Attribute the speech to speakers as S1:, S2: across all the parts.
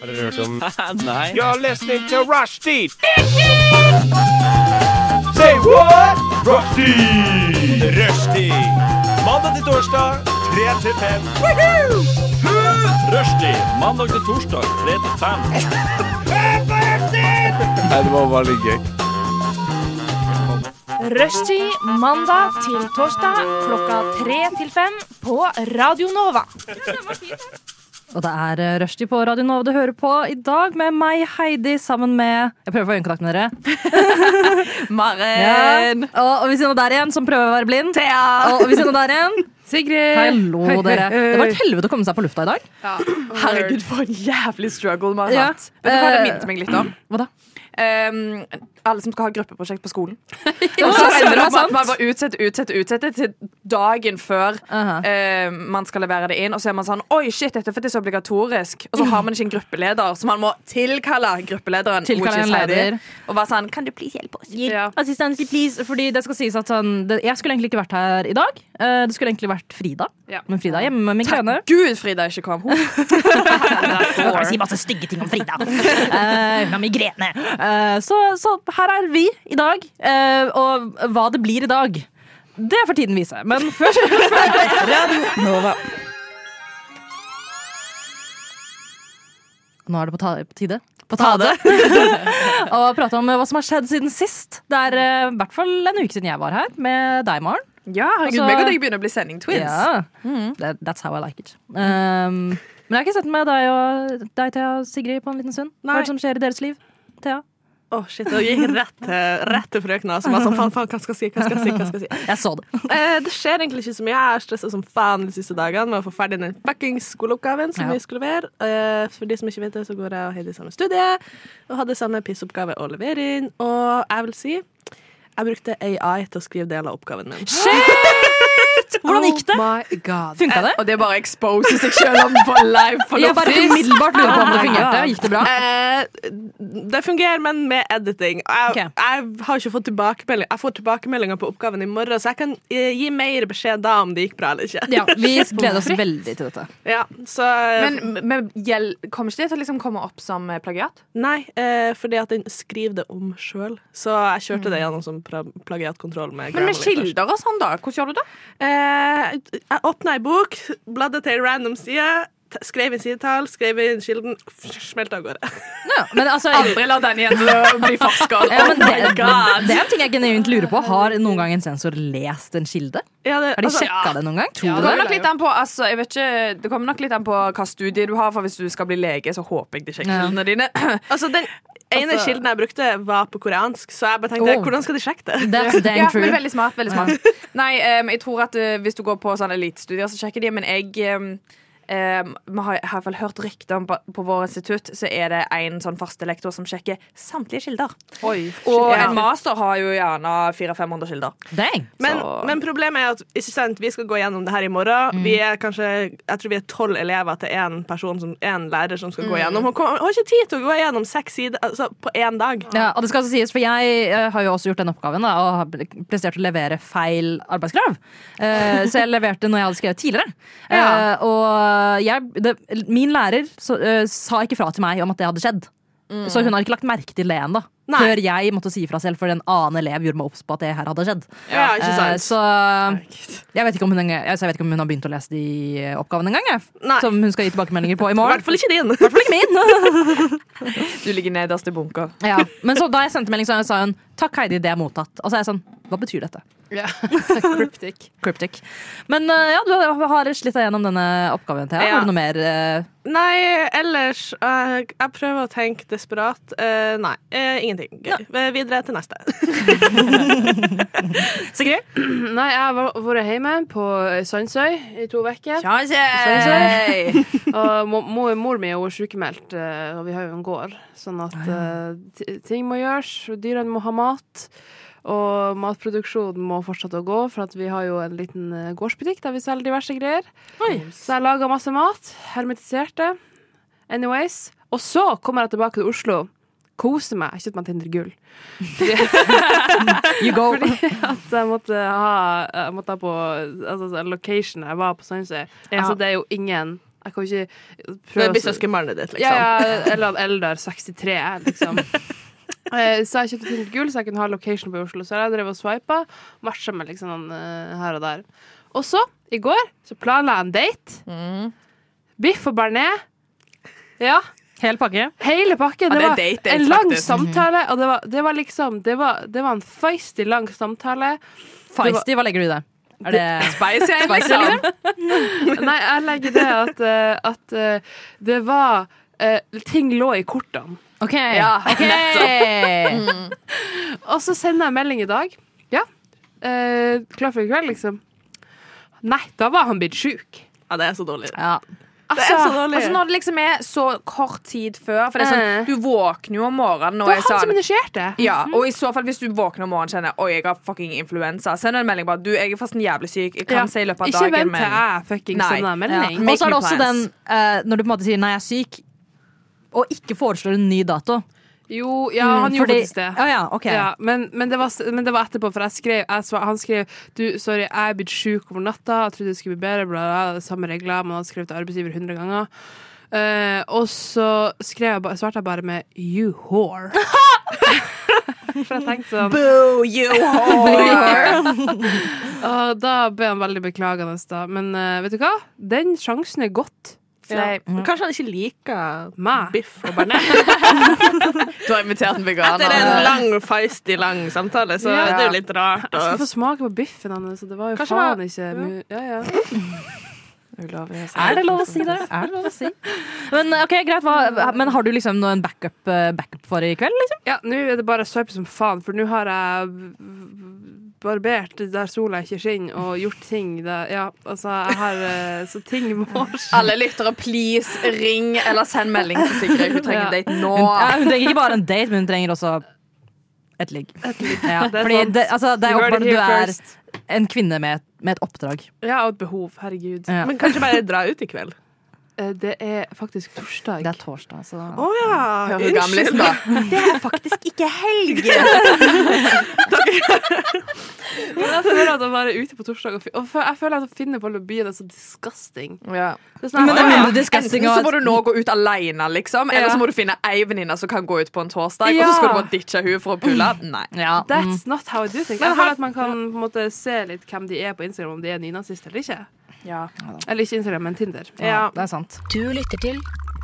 S1: Har dere hørt om
S2: Nei.
S3: You're listening to Rushdie. Say what? Rushdie. Rushdie. Mandag til torsdag, 3 til 5. Rushdie. Mandag til torsdag, 3 til 5.
S2: Nei, det var bare litt gøy.
S4: Rushtid mandag til torsdag klokka tre til fem på Radio Nova.
S5: Og det er eh, Rushdie på Radio Nova du hører på i dag med meg, Heidi, sammen med Jeg prøver å få øyekontakt med dere.
S6: Maren!
S5: Og, og ved siden av der igjen, som prøver å være blind. Og, og ved siden av der igjen.
S6: Sigrid!
S5: Hallo, dere. Det var et helvete å komme seg på lufta i dag.
S6: Herregud, for en jævlig struggle Maren
S5: Ja.
S6: har hatt. Vet du hva det
S5: Eh,
S6: minnet meg litt om?
S5: hva da?
S6: Ehm, alle som skal ha gruppeprosjekt på skolen.
S5: Ja,
S6: Og så ender det
S5: det
S6: opp med at man
S5: sant.
S6: bare utsetter, utsetter, utsetter til dagen før
S5: Aha.
S6: eh, man skal levere det inn. Og så er man sånn Oi, shit, dette er faktisk obligatorisk. Og så har man ikke en gruppeleder, så man må tilkalle gruppelederen.
S5: Tilkalle
S6: which is
S5: en
S6: Heidi,
S5: leder.
S6: Og være sånn Kan du please hjelpe oss? Ja.
S5: Assistance, please. Fordi det skal sies at sånn, det, Jeg skulle egentlig ikke vært her i dag. Eh, Det skulle egentlig vært Frida.
S6: Ja.
S5: Men Frida er hjemme med migrene.
S6: Gud, Frida ikke kom. Hun
S5: Jeg sier masse stygge ting om Frida. Eh, Hun har migrene. Eh, Så, så her er vi i dag. Eh, Og hva det blir i dag, det får tiden vise. Men før Radio Nova. Nå er det på, ta på tide. På tade. og prate om hva som har skjedd siden sist. Det er eh, i hvert fall en uke siden jeg var her med deg, Maren.
S6: Ja, herregud,
S5: Altså-
S6: meg og deg begynner å bli sending twins.
S5: Ja. That, that's how I like it. Um, men jeg har ikke sett med deg og deg, Thea og Sigrid på en liten stund. Hva
S7: Nei.
S5: er det som skjer i deres liv? Thea?
S7: Åh, shit, og jeg gikk rett til, rett til frøkna som var sånn, faen, faen, hva skal jeg si, hva skal jeg si, hva skal jeg si?
S5: Jeg så det.
S7: Eh, det skjer egentlig ikke så mye, jeg er stresset som faen de siste dagene med å få ferdig den fucking skoleoppgaven som
S5: Ja.
S7: vi skulle levere. Eh, for de som ikke vet det, så går jeg og Heidi samme studie, og hadde samme pissoppgave å levere inn, og jeg vil si, jeg brukte AI til å skrive deler av oppgaven min.
S5: Hvordan gikk det?
S6: Oh My God.
S5: Funka det?
S6: Og det bare exposes seg selv om på live på
S5: Jeg bare
S6: loftis.
S5: umiddelbart lurer på om det fungerte. Gikk det bra?
S7: Eh, det fungerer, men med editing. Jeg,
S5: Ok.
S7: jeg har ikke fått tilbakemelding. Jeg får tilbakemeldinger på oppgaven i morgen, så jeg kan eh, gi mer beskjed da om det gikk bra eller ikke.
S5: Ja, vi gleder oss veldig til dette.
S7: Ja, så, eh,
S6: Men, men gjel- kommer ikke det til å liksom komme opp som eh, plagiat?
S7: Nei, eh, fordi at den skriver det om sjøl. Så jeg kjørte det gjennom som pra- plagiatkontroll. Med
S6: Mm. Men med
S7: grammatikk først.
S6: kilder og sånn, da? Hvordan gjør du det?
S7: Eh, jeg åpna ei bok, bladde til ei random side, t- skrev inn sidetall, skrev inn kilden, smelte av gårde.
S5: Ja, men altså,
S6: Aldri la den igjen til å bli forsker.
S5: ja, men det, det er en ting jeg genuint lurer på. Har noen gang en sensor lest en kilde?
S7: Ja, det-
S5: Har de
S7: altså,
S5: sjekka det noen gang?
S6: Det
S5: Tror du
S6: kommer,
S5: det?
S6: nok litt an på, altså, jeg vet ikke, det kommer nok litt an på hva studie du har, for hvis du skal bli lege, så håper jeg de sjekker
S5: Ja.
S6: kildene dine.
S7: altså, den ene
S6: Altså-
S7: kilden jeg brukte, var på koreansk, så jeg bare tenkte
S5: Oh.
S7: hvordan skal de sjekke det?
S5: That's
S6: Ja,
S5: dang true.
S6: men veldig smart. veldig smart Nei, em, jeg tror at eh, Hvis du går på sånne elitestudier, så sjekker de. Men jeg em, em, vi har, har i hvert fall hørt rykter om på, på vår institutt Så er det en sånn fastelektor som sjekker samtlige kilder. Og
S7: Ja.
S6: en master har jo gjerne 400-500 kilder.
S5: Dang.
S7: Men,
S6: Så-
S7: men problemet er at ikke sant, vi skal gå gjennom det her i morgen.
S5: Mm.
S7: Vi er kanskje, jeg tror vi er tolv elever til én person som, en lærer som skal gå
S5: Mm.
S7: gjennom. Hun kom- hun har ikke tid til å gå gjennom seks sider altså, på én dag.
S5: Ja, og det skal også sies, for Jeg eh, har jo også gjort den oppgaven da, og har prestert å levere feil arbeidskrav. Eh, så jeg leverte noe jeg hadde skrevet tidligere. Eh,
S6: Ja.
S5: og jeg, det, min lærer så, eh, sa ikke fra til meg om at det hadde skjedd. Så hun har ikke lagt merke til det ennå.
S7: Mm. Nei.
S5: Før jeg måtte si fra selv, for en annen elev gjorde meg obs på at det her hadde skjedd.
S7: Ja, ikke
S5: Eh,
S7: sant?
S5: så jeg vet, ikke om hun, engang- altså, jeg vet ikke om hun har begynt å lese de eh, oppgavene engang. jeg,
S7: Nei.
S5: Som hun skal gi tilbakemeldinger på i
S7: I
S5: morgen.
S7: hvert fall ikke din.
S5: I hvert fall ikke min!
S6: Du ligger nederst i bunker.
S5: Ja, men så da jeg sendte melding, så sa hun takk Heidi, det er mottatt. Og så er jeg sånn, hva betyr dette?
S2: Cryptic?
S5: Cryptic. Men eh, ja, du har slitt deg gjennom denne oppgaven, Thea.
S7: Ja.
S5: Har du noe mer? eh,
S7: Nei, ellers eh, Jeg prøver å tenke desperat. Eh, nei, eh, ingenting gøy. Eh, Videre til neste.
S5: Sigrid?
S2: Nei, jeg har vært- vært hjemme på Sandsøy i to uker.
S6: Chansey!
S2: Og mo- mo- mor mi er jo sykemeldt, eh, og vi har jo en gård. Sånn at eh, ti- ting må gjøres, og dyrene må ha mat. Og matproduksjonen må fortsette å gå, for at vi har jo en liten eh, gårdsbutikk der vi selger diverse greier. Så jeg laga masse mat. Hermetiserte. Anyways. Og så kommer jeg tilbake til Oslo. Koser meg. Ikke at man tindrer gull.
S5: You go.
S2: Så jeg måtte ha, jeg måtte ha på altså, så location jeg var på Sandsøy. Altså, det er jo ingen Jeg kan jo ikke
S7: Det
S2: prøve
S7: blir
S2: å-
S7: søskenbarnet ditt, liksom.
S2: Ja, ja, eller han Eldar 63, liksom. Eh, Så jeg kjøpte til gull, så jeg kunne ha location på i Oslo. Så jeg drev og swipa, matcha med liksom han eh, her og der. Og så, i går, så planla jeg en date.
S6: Mm.
S2: Biff og bearnés. Ja,
S5: Hel pakke.
S2: hele
S6: Ja,
S2: pakken. Det
S6: det er
S2: var
S6: date,
S2: en lang
S6: faktisk.
S2: samtale, og det var, det var liksom Det var, det var en feisty lang samtale.
S5: Feisty, hva legger du i det? Er det
S6: Spicy, jeg, liksom.
S2: Nei, jeg legger det at, eh, at eh, det var eh, Ting lå i kortene.
S5: OK.
S6: Ja,
S5: ok.
S2: Og så sender jeg melding i dag. Ja. Eh, klar for i kveld, liksom. Nei, da var han blitt sjuk.
S7: Ja, det er så dårlig.
S5: Ja.
S2: Altså,
S6: Altså Når det liksom er så kort tid før For det er sånn,
S2: Eh.
S6: du våkner jo om morgenen
S2: det
S6: og
S2: var
S6: er
S2: han som
S6: sånn
S2: initierte.
S6: ja, og i så fall hvis du våkner om morgenen og kjenner Oi, jeg har fucking influensa Send en melding bare Du, jeg er forresten jævlig syk Jeg kan
S2: Ja.
S6: si i løpet av
S2: Ikke
S6: dagen
S2: vent til
S6: men...
S2: jeg fucking
S6: Nei.
S2: sender deg melding.
S6: Ja.
S5: Og så er det
S6: me
S5: også den
S6: plans.
S5: eh, når du på en måte sier 'nei, jeg er syk', og ikke foreslår en ny dato.
S2: Jo, ja, han gjorde
S5: Fordi-
S2: faktisk det.
S5: Ja, ja, ok.
S2: Mm, Ja, men, men, det var, s- men det var etterpå, for jeg skrev, jeg svar, han skrev du, 'Sorry, jeg er blitt sjuk over natta. Jeg trodde det skulle bli bedre.' Bla, bla, bla, samme regler. Man hadde skrevet til arbeidsgiver 100 ganger. Eh, og så skrev jeg, ba- svarte jeg bare med 'you whore'. for jeg tenkte sånn
S6: Boo, you whore
S2: Og Ah, da ble han veldig beklagende, da. Men eh, vet du hva? Den sjansen er godt.
S6: Slay.
S7: Men Kanskje han ikke liker
S2: Meg.
S7: biff og bearnés.
S6: Du har invitert en
S7: Det er
S6: veganer
S7: en lang, feisty, lang samtale, så
S2: Ja.
S7: det er jo litt rart.
S2: Jeg skulle
S7: Og...
S2: få smake på biffen hans, så det var jo
S7: Kanskje
S2: faen
S7: det
S2: ikke mu- ja, ja.
S5: Er det lov å sånn? si det? Er det lov å si? Men ok, greit, hva, men har du liksom noe- en backup, eh, backup for i kveld? Liksom?
S2: Ja, nå er det bare å swipe som faen, for nå har jeg barbert der sola ikke skinner, og gjort ting der Ja, altså, jeg har eh, Så ting må skje.
S6: Alle lyttere, please ring Eller send melding til Sigrid Hun trenger en date nå
S5: Ja, hun trenger ikke bare en date, men hun trenger også et ligg. Ja,
S7: Det er
S5: fordi
S7: sant.
S5: det, altså, det er
S2: You heard
S5: åpenbart
S2: it
S5: at du
S2: here
S5: er en kvinne med, et- med et oppdrag.
S2: Jeg har et behov, herregud.
S5: Ja.
S7: Men kanskje bare dra ut i kveld.
S2: Eh, Det er faktisk torsdag.
S5: Det er torsdag, så
S7: Å ja.
S6: Hører du gamlisten da Det er faktisk ikke helg
S2: Men jeg føler at å være ute på torsdag og, fi- og fø- Jeg føler at å finne på lobbyen er så disgusting.
S6: Ja
S2: Det er sånn,
S5: Men det er
S2: «Å, ja,
S5: mindre disgusting
S6: Enten så må
S5: å
S6: du nå gå ut alene, liksom. Eller
S2: Ja.
S6: så må du finne ei venninne som kan gå ut på en torsdag, og
S2: Ja.
S6: så skal du bare ditche hun for å pulle. Nei.
S5: ja.
S2: That's not how I do things. Jeg føler at man kan på en måte, se litt hvem de er på Instagram, om de er nynazister eller ikke. Eller ikke Instagram, men Tinder.
S5: ja, det er sant.
S1: Du lytter til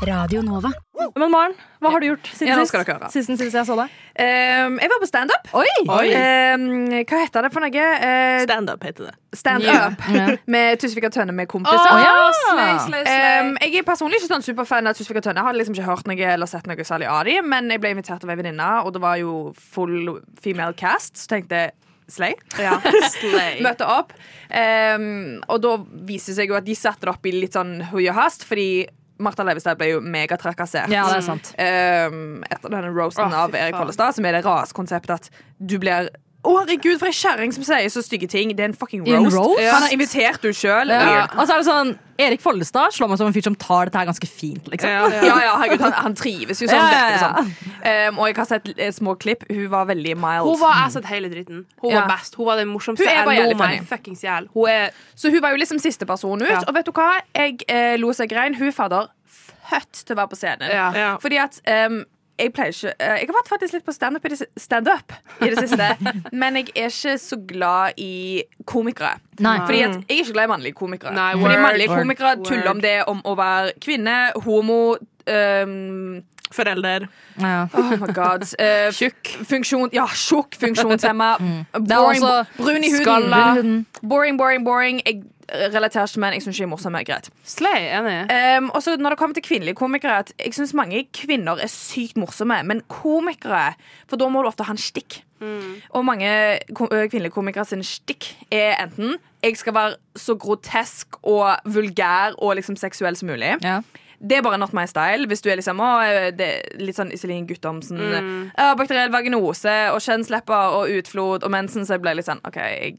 S1: Radio Nova.
S5: Men Maren, hva har du gjort siden
S6: Ja, nå
S5: sist?
S6: skal dere høre.
S5: Siden sist jeg så deg?
S6: Ehm, jeg var på standup.
S7: Oi.
S6: Ehm, hva heter det for noe? Eh,
S7: Standup heter det.
S6: Standup med Tusvik og Tønne med kompiser.
S5: Å, ja.
S6: Ehm, jeg er personlig ikke sånn superfan av Tusvik og Tønne. Jeg hadde liksom ikke hørt noe eller sett noe særlig av dem, men jeg ble invitert av ei venninne, og det var jo full female cast, så tenkte jeg slay. møte opp. Ehm, og da viser det seg jo at de setter det opp i litt sånn hui og hast, fordi Martha Leivestad ble jo megatrakassert. Mm.
S5: Ja, det er sant.
S6: Ehm, etter denne roasten
S2: Å, fy
S6: av Erik
S2: faen.
S6: Pollestad, som er det raskonseptet at du blir å, herregud, for ei kjerring som sier så stygge ting. Det er en fucking
S5: I en
S6: roast.
S5: roast?
S6: Han har invitert du sjøl.
S5: Ja.
S6: Ja.
S5: Og så er det sånn, Erik Follestad slår meg som en fyr som tar dette her ganske fint. Liksom.
S7: Ja.
S6: ja, ja, herregud, han, han trives jo sånn.
S5: Ja, ja,
S6: dette,
S5: ja.
S6: sånn. Ehm, og jeg har sett eh, små klipp. Hun var veldig mild.
S2: Hun var jeg har sett hele dritten. Hun
S6: Ja.
S2: var best. Hun var den morsomste.
S6: Hun er bare
S2: Jeg
S6: jævlig
S2: lo meg
S6: funny.
S2: fuckings i hjel. Hun er
S6: Så hun var jo liksom siste person ut.
S2: Ja.
S6: Og vet du hva? Jeg eh, lo seg rein. Hun er fader født til å være på scenen.
S2: ja.
S7: Ja.
S6: Fordi at em, jeg pleier ikke eh, Jeg har vært faktisk litt på standup i, det si- standup i det siste, men jeg er ikke så glad i komikere.
S5: Nei.
S6: Fordi at Jeg er ikke glad i mannlige komikere.
S2: Mm. Nei,
S6: Fordi
S2: word,
S6: mannlige
S5: word,
S6: komikere
S2: word.
S6: tuller om det om å være kvinne, homo ehm, em,
S7: Forelder.
S5: Ja.
S6: Oh my god. Eh, Funksjon, ja, tjukk funksjonshemma.
S5: Mm. Det er
S6: Boring,
S5: også
S6: brun i huden.
S5: skalla. Brun i huden.
S6: Boring, boring, boring. Jeg eh, relaterer ikke, men jeg syns ikke jeg er morsom. men Greit.
S2: Slay, enig.
S6: Um, og så når det kommer til kvinnelige komikere at Jeg synes mange kvinner er sykt morsomme, men komikere For da må du ofte ha en stikk. Og mange ko- ø, kvinnelige komikere sin stikk er enten jeg skal være så grotesk og vulgær og liksom seksuell som mulig.
S5: Ja.
S6: Det er bare not my style. Hvis du er liksom, å, det er litt sånn Iselin Guttormsen. «Å, bakteriell vaginose og kjønnslepper og utflod og mensen. Så jeg ble litt sånn OK. Jeg,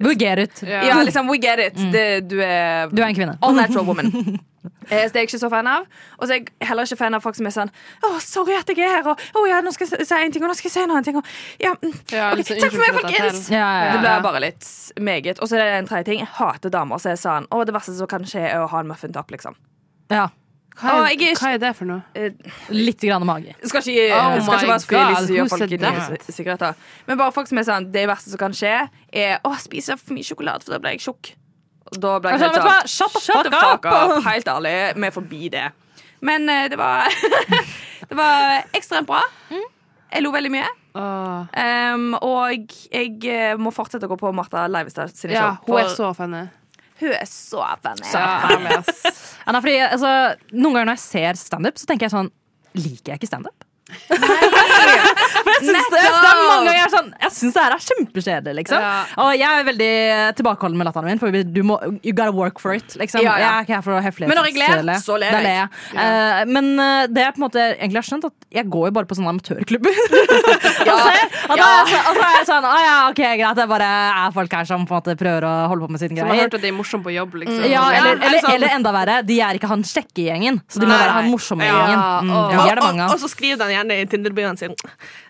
S5: Vulger ut.
S2: Ja.
S6: ja, liksom, we get it. Det, du er
S5: Mm. Du er en kvinne.
S6: All natural woman. Eh, Så det er jeg ikke så fan av. Og så er jeg heller ikke fan av folk som er sånn Å, sorry at jeg er her, og å ja, nå skal jeg si en ting, og nå skal jeg si en annen ting, og ja mm,
S2: Ja,
S6: ok,
S2: liksom,
S6: Takk for meg,
S2: unnskyld for at jeg
S6: folkens!
S5: Ja, ja,
S6: Det ble
S5: ja.
S6: bare litt meget. Og så er det en tredje ting. Jeg hater damer som er sånn Å, det verste som kan skje, er å ha en muffintopp, liksom. Eh,
S5: Ja.
S2: Hva
S6: Å,
S2: er,
S6: jeg er-
S2: hva er det for noe?
S5: Litt grann mage.
S6: Skal ikke,
S2: Oh
S6: skal ikke
S2: my
S6: være så fyr i lyset og
S2: God,
S6: gjøre
S2: who
S6: folk
S2: said
S6: inn i si- sigaretter. Men bare folk som er sånn Det verste som kan skje, er å spise for mye sjokolade, for da ble jeg tjukk. Og Da ble jeg
S5: Altså,
S6: helt
S5: vet du hva?
S6: sånn
S5: Shut the
S6: Shut the fuck
S5: fuck up!»
S6: up! Helt ærlig, vi er forbi det. Men eh, det var Det var ekstremt bra. Jeg lo veldig mye.
S2: Åh.
S6: Em, og jeg eh, må fortsette å gå på Martha Leivestad sine
S2: Ja,
S6: show.
S2: hun er
S6: for
S2: så funny.
S6: hun er så funny.
S2: Ja,
S5: Ja, nei, fordi, altså, noen ganger når jeg ser standup, så tenker jeg sånn Liker jeg ikke standup? Jeg syns det, jeg syns det er mange ganger jeg er sånn Jeg syns det her er kjempekjedelig, liksom. Og jeg er veldig eh, tilbakeholden med latteren min, for du må You gotta work for it, liksom.
S6: Ja, ja.
S5: Jeg er ikke her for å hefle.
S6: Men når jeg ler, så ler
S5: Da
S6: jeg.
S5: jeg. Eh, men eh, det jeg på en måte egentlig har skjønt, at jeg går jo bare på sånne amatørklubber. og ser, og da er jeg sånn, og så er jeg sånn Å ja, ok, greit. Det er bare er folk her som på en måte prøver å holde på med sine
S2: Som har
S5: greier.
S2: hørt at det er morsomt på jobb, liksom.
S5: Ja,
S2: Ja.
S5: eller,
S7: er
S5: eller,
S7: sånn-
S5: eller enda verre, de er ikke han kjekke i gjengen, så de må
S7: Nei.
S5: være han morsomme i
S7: Ja,
S5: gjengen. Mm,
S2: og-
S5: de
S7: Og,
S5: er det mange
S7: og,
S5: av.
S7: og så skriver den gjerne i Tinder-bioen sin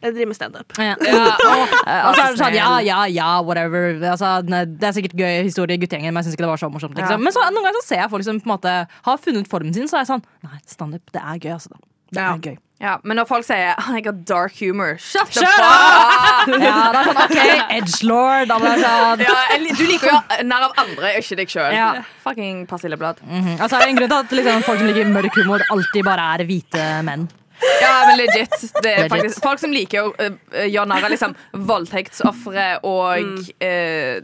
S7: Jeg driver med standup.
S5: Ja. Eh, og så er det sånn, ja, ja, ja, whatever. Altså, ne- det er sikkert gøy historie i guttegjengen, men jeg syns ikke det var så morsomt. Liksom. Men så, noen ganger så ser jeg folk som på en måte har funnet formen sin, så er jeg sånn Nei, standup, det er gøy, altså. Da. Det
S6: Ja.
S5: er gøy.
S6: Ja, men når folk sier «Ah, 'jeg har dark humor', shut, the
S5: Shut
S6: fuck
S5: up! Ja, det er sånn, OK, edgelord. da blir jeg sånn.
S6: Ja, jeg li- du liker jo nær av andre, ikke deg Mm. sjøl.
S5: Ja.
S6: Fucking persilleblad.
S5: Mhm. Altså, er det en grunn til at liksom, folk som liker mørk humor, alltid bare er hvite menn.
S6: Ja, men legit. Det er
S5: Legit.
S6: faktisk folk som liker å øh, øh, gjøre narr av liksom, voldtektsofre og
S5: Mm.
S6: øh,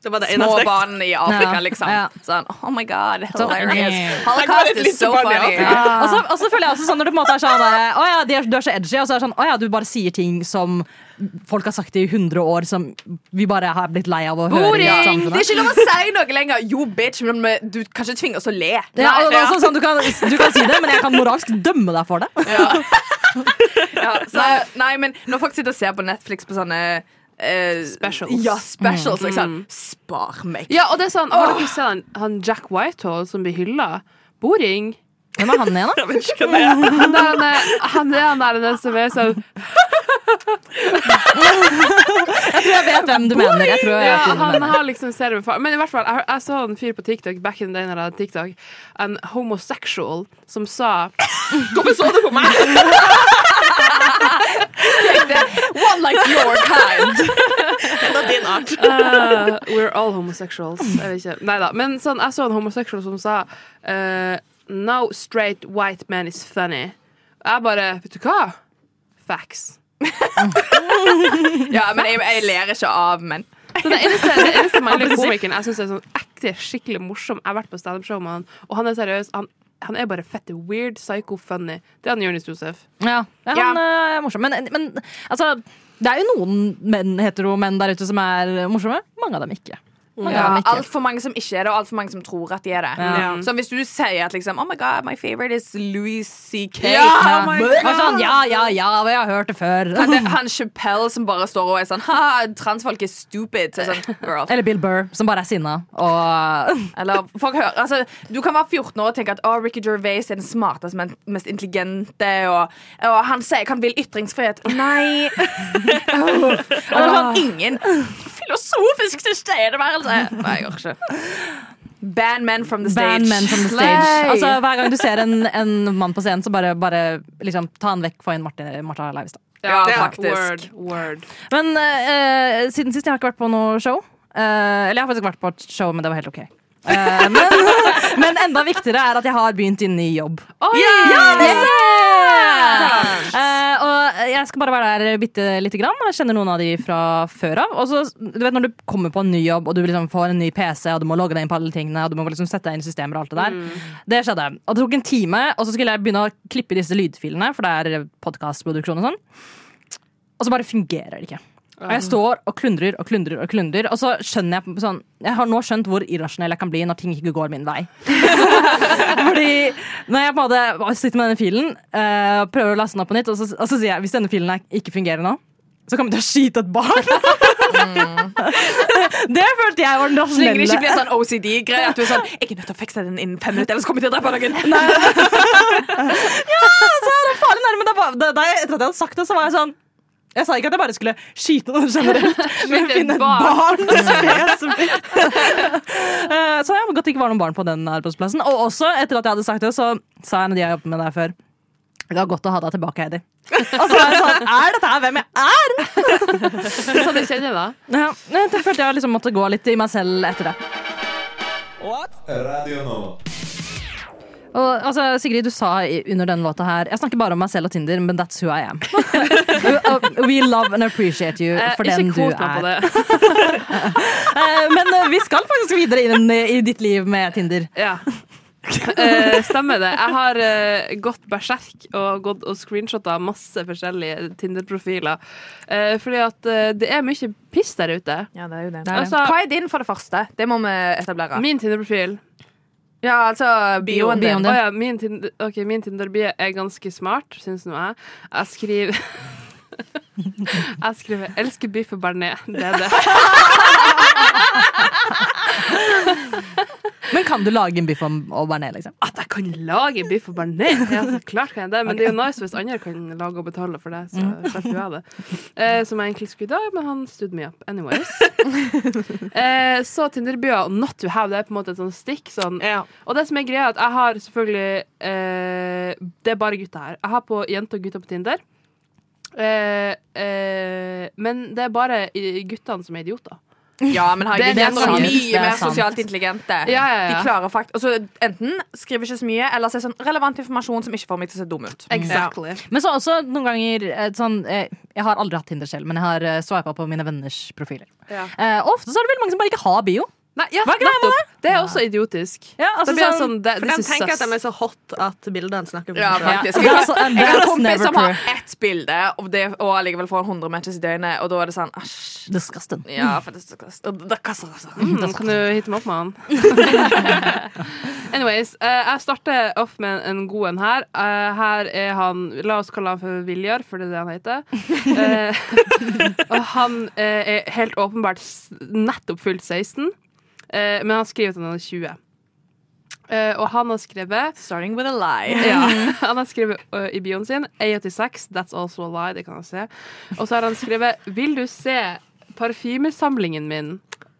S7: Det var det
S6: små
S7: eneste.
S6: barn i Afrika,
S5: Ja.
S6: liksom.
S5: Ja.
S6: Sånn oh my god,
S5: Sånn,
S6: hilarious.
S5: mm.
S7: Det er
S6: Holocaust
S7: bare et
S6: is so
S7: lite barn i
S6: funny.
S7: Afrika.
S6: Ja.
S5: Og så, og så føler jeg også sånn når du på en måte er sånn der, Å ja, de er, du er så edgy, og så er det sånn Å ja, du bare sier ting som folk har sagt i 100 år, som vi bare har blitt lei av å høre i
S6: Boring! Det
S5: samfunnet.
S6: er ikke lov å si noe lenger. Jo, bitch, men men du kan ikke tvinge oss å le.
S5: Ja, og,
S6: Nei,
S5: og så, sånn, du, kan, du kan si det, men jeg kan moralsk dømme deg for det.
S6: Ja, så, nei, men når folk sitter og ser på Netflix på sånne eh,
S2: Specials.
S6: Ja, specials
S7: Mm.
S6: og jeg er sånn, Spar meg.
S2: Ja, og det er sånn, Har dere sett han, han Jack Whitehall som blir hylla? Boring.
S5: Hvem er han igjen, da?
S2: Han er han, er- han, er han der den som er sånn
S5: Jeg tror jeg vet hvem du mener. Jeg tror jeg
S2: ja,
S5: vet hvem du
S2: Han
S5: mener.
S2: har liksom cerebral far- Men i hvert fall, jeg, jeg så en fyr på TikTok back in the day når jeg hadde TikTok, en homosexual, som sa
S6: Hvorfor så du på meg? One like your kind.
S7: Det er din art.
S2: Eh, We're all homosexuals. Jeg vet ikke. Neida. Men sånn, jeg så en homosexual som sa eh, No straight white man is funny. Jeg bare Vet du hva? Facts.
S6: Ja, men jeg, jeg ler ikke av menn.
S2: Så det eneste, det eneste mannlige komikeren jeg syns er sånn ekte skikkelig morsom Jeg har vært på standup-show med han, og han er seriøs. Han, han er bare fette weird, psycho, funny. Det er han Jonis Josef.
S5: Ja, ja, han eh, er morsom. Men, men altså, det er jo noen menn, hetero menn der ute som er morsomme. Mange av dem ikke. Mange
S6: Ja,
S5: av dem ikke.
S6: Altfor mange som ikke er det, og altfor mange som tror at de er det.
S5: Ja.
S6: Så hvis du sier at liksom, oh my god, my favorite is Louis C.K.
S5: Ja,
S7: my
S5: bare sånn, ja, ja, ja, og jeg har hørt det før.
S6: Han, han Chappelle som bare står og er sånn ha, transfolk er stupid. Så jeg er sånn, girl.
S5: Eller Bill Burr, som bare er sinna. Og
S6: Eller, folk hører, altså, du kan være 14 år og tenke at å, Ricky Gervais er den smarteste, men mest intelligente. Og, og han sier ikke han vil ytringsfrihet. Nei! Og det er sånn ingen filosofisk tilstedeværelse. Nei, jeg orker ikke. Ban men from the stage.
S5: ban men from the stage.
S6: Slay.
S5: Altså, hver gang du ser en, en mann på scenen, så bare, bare liksom, ta han vekk. Få inn Martin, Martha Leivestad.
S6: Ja, faktisk.
S2: Word, word.
S5: Men eh, eh, siden sist jeg har ikke vært på noe show. Eh, eller jeg har faktisk vært på et show, men det var helt OK. Eh, men, men enda viktigere er at jeg har begynt i ny jobb. Ja, det er sant! Eh, og jeg skal bare være der bitte lite grann. Jeg kjenner noen av de fra før av. Og så, du vet Når du kommer på en ny jobb og du liksom får en ny PC og du må logge deg inn på alle tingene og du må liksom sette deg inn i systemer og alt det der. Det skjedde. Og det tok en time, og så skulle jeg begynne å klippe disse lydfilene, for det er podkastproduksjon og sånn. Og så bare fungerer det ikke. Og
S6: Ah.
S5: jeg står og klundrer og klundrer, og klundrer Og så skjønner jeg på- sånn Jeg har nå skjønt hvor irrasjonell jeg kan bli når ting ikke går min vei. Fordi når jeg på en måte sitter med denne filen eh, og prøver å laste den opp på nytt, og så, og så sier jeg hvis denne filen her ikke fungerer nå, så kommer jeg til å skyte et barn. det følte jeg
S6: Så
S5: var den
S6: lenge det
S5: rasjonelle.
S6: ikke blir sånn OCD-greie at du er sånn Jeg er nødt til å fikse den innen fem minutter, ellers kommer jeg til å drepe noen.
S5: Ja, så er det farlig nærme. Da, var- da, da, jeg- etter at jeg hadde sagt det, så var jeg sånn Jeg sa ikke at jeg bare skulle skyte noen generelt, men
S2: Skyte
S5: finne et
S2: et barn.
S5: barn spesifikt. Eh, så jeg var godt det ikke var noen barn på den arbeidsplassen. Og også, etter at jeg hadde sagt det, så sa en av de jeg jobbet med der før det var godt å ha deg tilbake, Heidi. Og så var jeg sånn, er dette her hvem jeg er?
S2: Så du kjenner det?
S5: Ja, jeg følte jeg liksom måtte gå litt i meg selv etter det.
S3: Radio Nova.
S5: Og, altså, Sigrid, du sa i- under denne låta her Jeg snakker bare om meg selv og Tinder, men that's who I am. We love and appreciate you
S2: Eh,
S5: for den
S2: ikke
S5: du
S2: kvot meg
S5: er.
S2: på det.
S5: Eh, Men eh, vi skal faktisk videre inn i ditt liv med Tinder.
S2: Ja. Eh, stemmer det. Jeg har eh, gått berserk og gått og screenshotta masse forskjellige Tinder-profiler. Eh, fordi at eh, det er mye piss der ute.
S6: Ja, det er jo det.
S5: er det.
S2: Altså,
S6: Hva er din, for det første? Det må vi etablere.
S2: min Tinder-profil
S6: Ja, altså bioen din.
S5: Bioen din.
S2: Å ja, min, Tinder, ok, min Tinder-bio er ganske smart, syns nå jeg. Jeg skriver Jeg skriver 'elsker biff og bearnés'. Det er det.
S5: Men kan du lage en biff om- og bearnés, liksom?
S2: At jeg kan lage biff og bearnés! Ja, så klart kan jeg det, men det er jo nice hvis andre kan lage og betale for det. Så slipper jo jeg det. Eh, som jeg egentlig skulle i dag, men han stood me up anyways. Eh, så Tinder-bioer, not to have, det er på en måte et sånt stikk. Sånn,
S7: Ja.
S2: Og det som er greia, er at jeg har selvfølgelig eh, Det er bare gutter her. Jeg har på jenter og gutter på Tinder. Eh, eh, men det er bare i- guttene som er idioter.
S6: Ja, men herregud,
S5: Det
S6: det
S5: er
S6: er så
S5: sant. Det
S6: mye
S5: er
S6: mer
S5: sant.
S6: sosialt intelligente.
S2: Ja, ja, ja.
S6: De klarer fakt altså, Enten skriver ikke så mye, eller så er det sånn relevant informasjon som ikke får meg til å se dum ut.
S2: Exactly.
S5: Men så også noen ganger eh, sånn eh, Jeg har aldri hatt Tinder selv, men jeg har sveipa på mine venners profiler.
S2: Ja.
S5: Eh, og ofte så er det veldig mange som bare ikke har bio.
S2: Nei, ja,
S5: Hva er greia med
S2: nettopp. Det er også idiotisk.
S5: Ja, altså
S2: det blir
S5: sånn-
S2: sånn, det,
S7: For
S2: this
S7: de
S2: is
S7: tenker at
S2: sus.
S7: de er så hot at bildene snakker for
S6: Ja,
S7: seg selv.
S5: Ja,
S6: faktisk.
S5: that's- and
S6: Jeg har en
S5: that's
S6: kompis
S5: never
S6: som har
S5: true.
S6: ett bilde, og, det, og allikevel får han 100 matches i døgnet, og da er det sånn æsj.
S5: Disgusting.
S6: Ja, for det er så kast- og det kaster altså.
S2: Mm, kan du hitte meg opp med han? Anyways, eh, jeg starter off med en god en her. Eh, her er han La oss kalle han for Viljar, for det er det han heter. Eh, og han eh, er helt åpenbart s- nettopp fylt 16, eh, men han skriver at han er 20. Eh, og han har skrevet
S6: Starting with a lie.
S2: ja, Han har skrevet ø, i bioen sin A86, that's also a lie, det kan jeg se. Og så har han skrevet Vil du se parfymesamlingen min?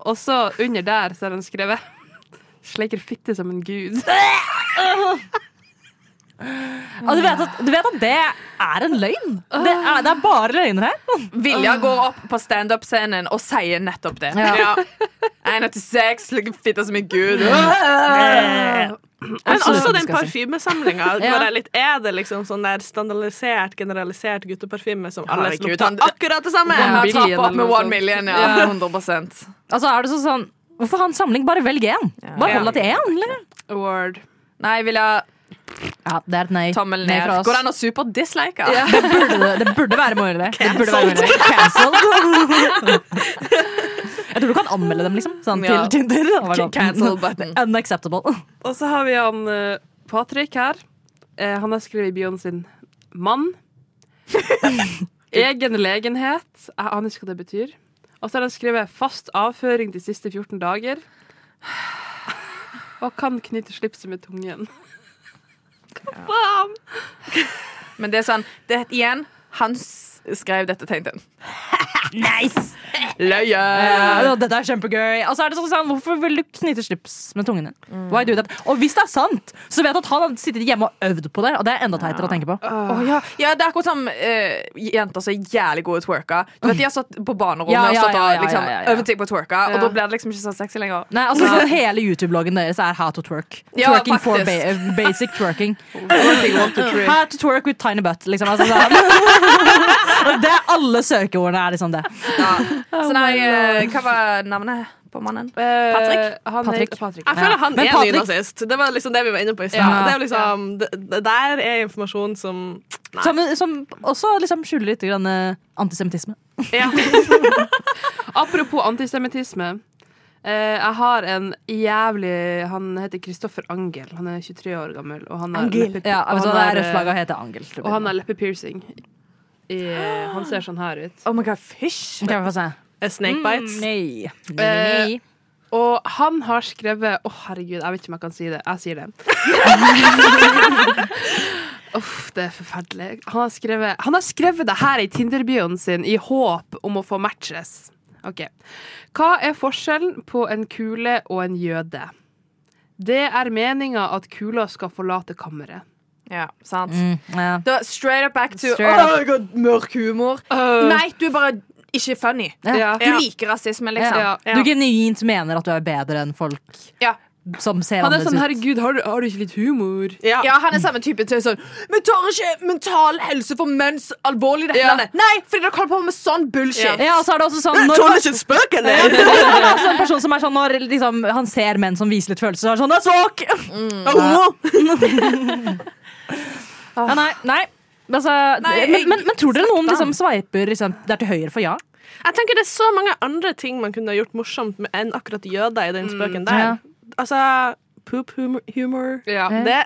S2: Og så under der så har han skrevet Sleiker fitte som en gud.
S5: Og Altså, du vet, at, du vet at det er en løgn? Det er, det er bare løgner her.
S6: Vilja går opp på standup-scenen og sier nettopp det.
S5: Ja.
S6: Ja. 186, ligger fitta som en gud.
S5: Eh,
S7: Eh, Men
S5: Absolutt,
S7: også den
S5: skal jeg si.
S7: parfymesamlinga.
S5: Ja.
S7: bare litt- Er det liksom sånn der standardisert, generalisert gutteparfyme som alle liksom
S6: Herregud,
S7: slutter
S6: han-
S7: akkurat det samme?
S2: One
S6: Han
S2: billion
S6: trapper opp
S2: eller
S6: med
S2: noe
S6: one
S2: sånt.
S6: million, ja. 100
S5: Altså er det sånn sånn Hvorfor ha en samling? Bare velg én. Bare hold deg til én. eller?
S2: Award.
S6: Nei, Vilja,
S5: Ja, det er et nei.
S6: tommel
S5: Nei
S6: ned.
S5: fra oss.
S6: Går det an å superdislike?
S5: det, burde, det burde være mulig. Det burde være mulig. Cancelled. Jeg tror du kan anmelde dem liksom sånn,
S6: Ja.
S5: til Tinder. Og være sånn,
S6: Cancel button.
S5: Unacceptable.
S2: Og så har vi han ø, Patrick her. Eh, han har skrevet i bioen sin mann. Egen legenhet. Jeg aner ikke hva det betyr. Og så har han skrevet fast avføring de siste 14 dager. Og kan knytte slipset med tungen.
S6: Men det er sånn, det er igjen, han s- skrev dette, tenkte han.
S5: Nice!
S6: Løye!
S5: Ja, Eh, dette er kjempegøy. Og så er det sånn, sånn, hvorfor vil du knyte slips med tungen din? Why do that? Og hvis det er sant, så vet jeg at han har sittet hjemme og øvd på det. Og det er enda teitere å tenke på.
S6: Å, ja. ja, det er akkurat som eh, jenter som er jævlig gode twerker. Du vet, De har stått på banerommet
S5: Ja, ja,
S6: og stått
S5: ja, ja,
S6: og liksom,
S5: ja, ja.
S6: øvd seg på å twerke,
S2: Ja.
S6: og da blir det liksom ikke så sexy lenger.
S5: Nei, altså sånn Hele YouTube-bloggen deres er how to twerk.
S6: Ja,
S5: Twerking for
S6: faktisk.
S5: ba eh, basic twerking. How to twerk with tiny butt, liksom. Altså, sånn. Og det er alle søkeordene er liksom det.
S6: Ja.
S5: Oh,
S6: Så nei, eh, hva var navnet på mannen?
S2: Patrick? Eh, Han Ah,
S5: Patrick.
S2: Heter Patrick.
S7: Jeg føler han
S5: Men
S7: er
S5: Patrick-
S7: nynazist. Det var liksom det vi var inne på i stad.
S5: Ja.
S7: Det, er jo liksom, det, det der er informasjon som Nei.
S5: Som, som også liksom skjuler litt grann, eh, antisemittisme.
S2: Apropos antisemittisme. Eh, jeg har en jævlig Han heter Kristoffer Angel. Han er 23 år gammel. Og han har leppe-
S5: Ja,
S2: og
S5: vet du hva,
S2: han
S5: det
S2: har,
S5: er rødt flagg
S2: eh,
S5: å hete angel. tror jeg.
S2: og han har leppepiercing. I- Han ser sånn her ut.
S6: Oh my god, fish!
S5: Kan vi få se?
S7: er
S5: Mm.
S7: snake bites.
S5: Nei. Nei,
S2: Eh,
S5: nei, nei.
S2: Og han har skrevet Å, herregud, jeg vet ikke om jeg kan si det. Jeg sier det. Uff, det er forferdelig. Han har skrevet, han har skrevet det her i Tinder-bioen sin i håp om å få matches. Ok. Hva er forskjellen på en kule og en jøde? Det er meninga at kula skal forlate kammeret.
S6: Ja, sant.
S5: Mm, ja.
S6: Da, straight up back to
S5: Straight Uh.
S6: «Åh, jeg har mørk humor. Nei, du er bare ikke funny.
S5: Ja.
S6: Du liker rasisme, liksom.
S2: Ja.
S5: Du genuint mener at du er bedre enn folk
S6: Ja.
S5: som ser
S2: Han er
S5: annerledes
S2: sånn,
S5: ut.
S2: herregud, har du, har du ikke litt humor?
S7: Ja.
S6: Ja, han er samme type til sånn Vi tar ikke mental helse for menns alvorlig i dette landet. Nei, fordi dere holder på med sånn bullshit.
S5: Ja, og så er det også sånn
S7: Jeg
S5: når,
S7: tåler ikke spøk, eller?
S5: Og så er det også en person som er sånn Når liksom, han ser menn som viser litt følelser, så er han sånn 'Det er svak!'
S7: Jeg er homo.
S5: Ja, nei, nei. Altså,
S6: Nei,
S5: men,
S6: jeg-
S5: men, men tror dere noen liksom sveiper liksom, Det er til høyre for ja?
S7: Jeg tenker det er så mange andre ting man kunne ha gjort morsomt med enn akkurat jøder i den spøken
S5: Mm. Ja.
S7: der. Altså, poop humor, humor.
S2: Ja.
S7: Det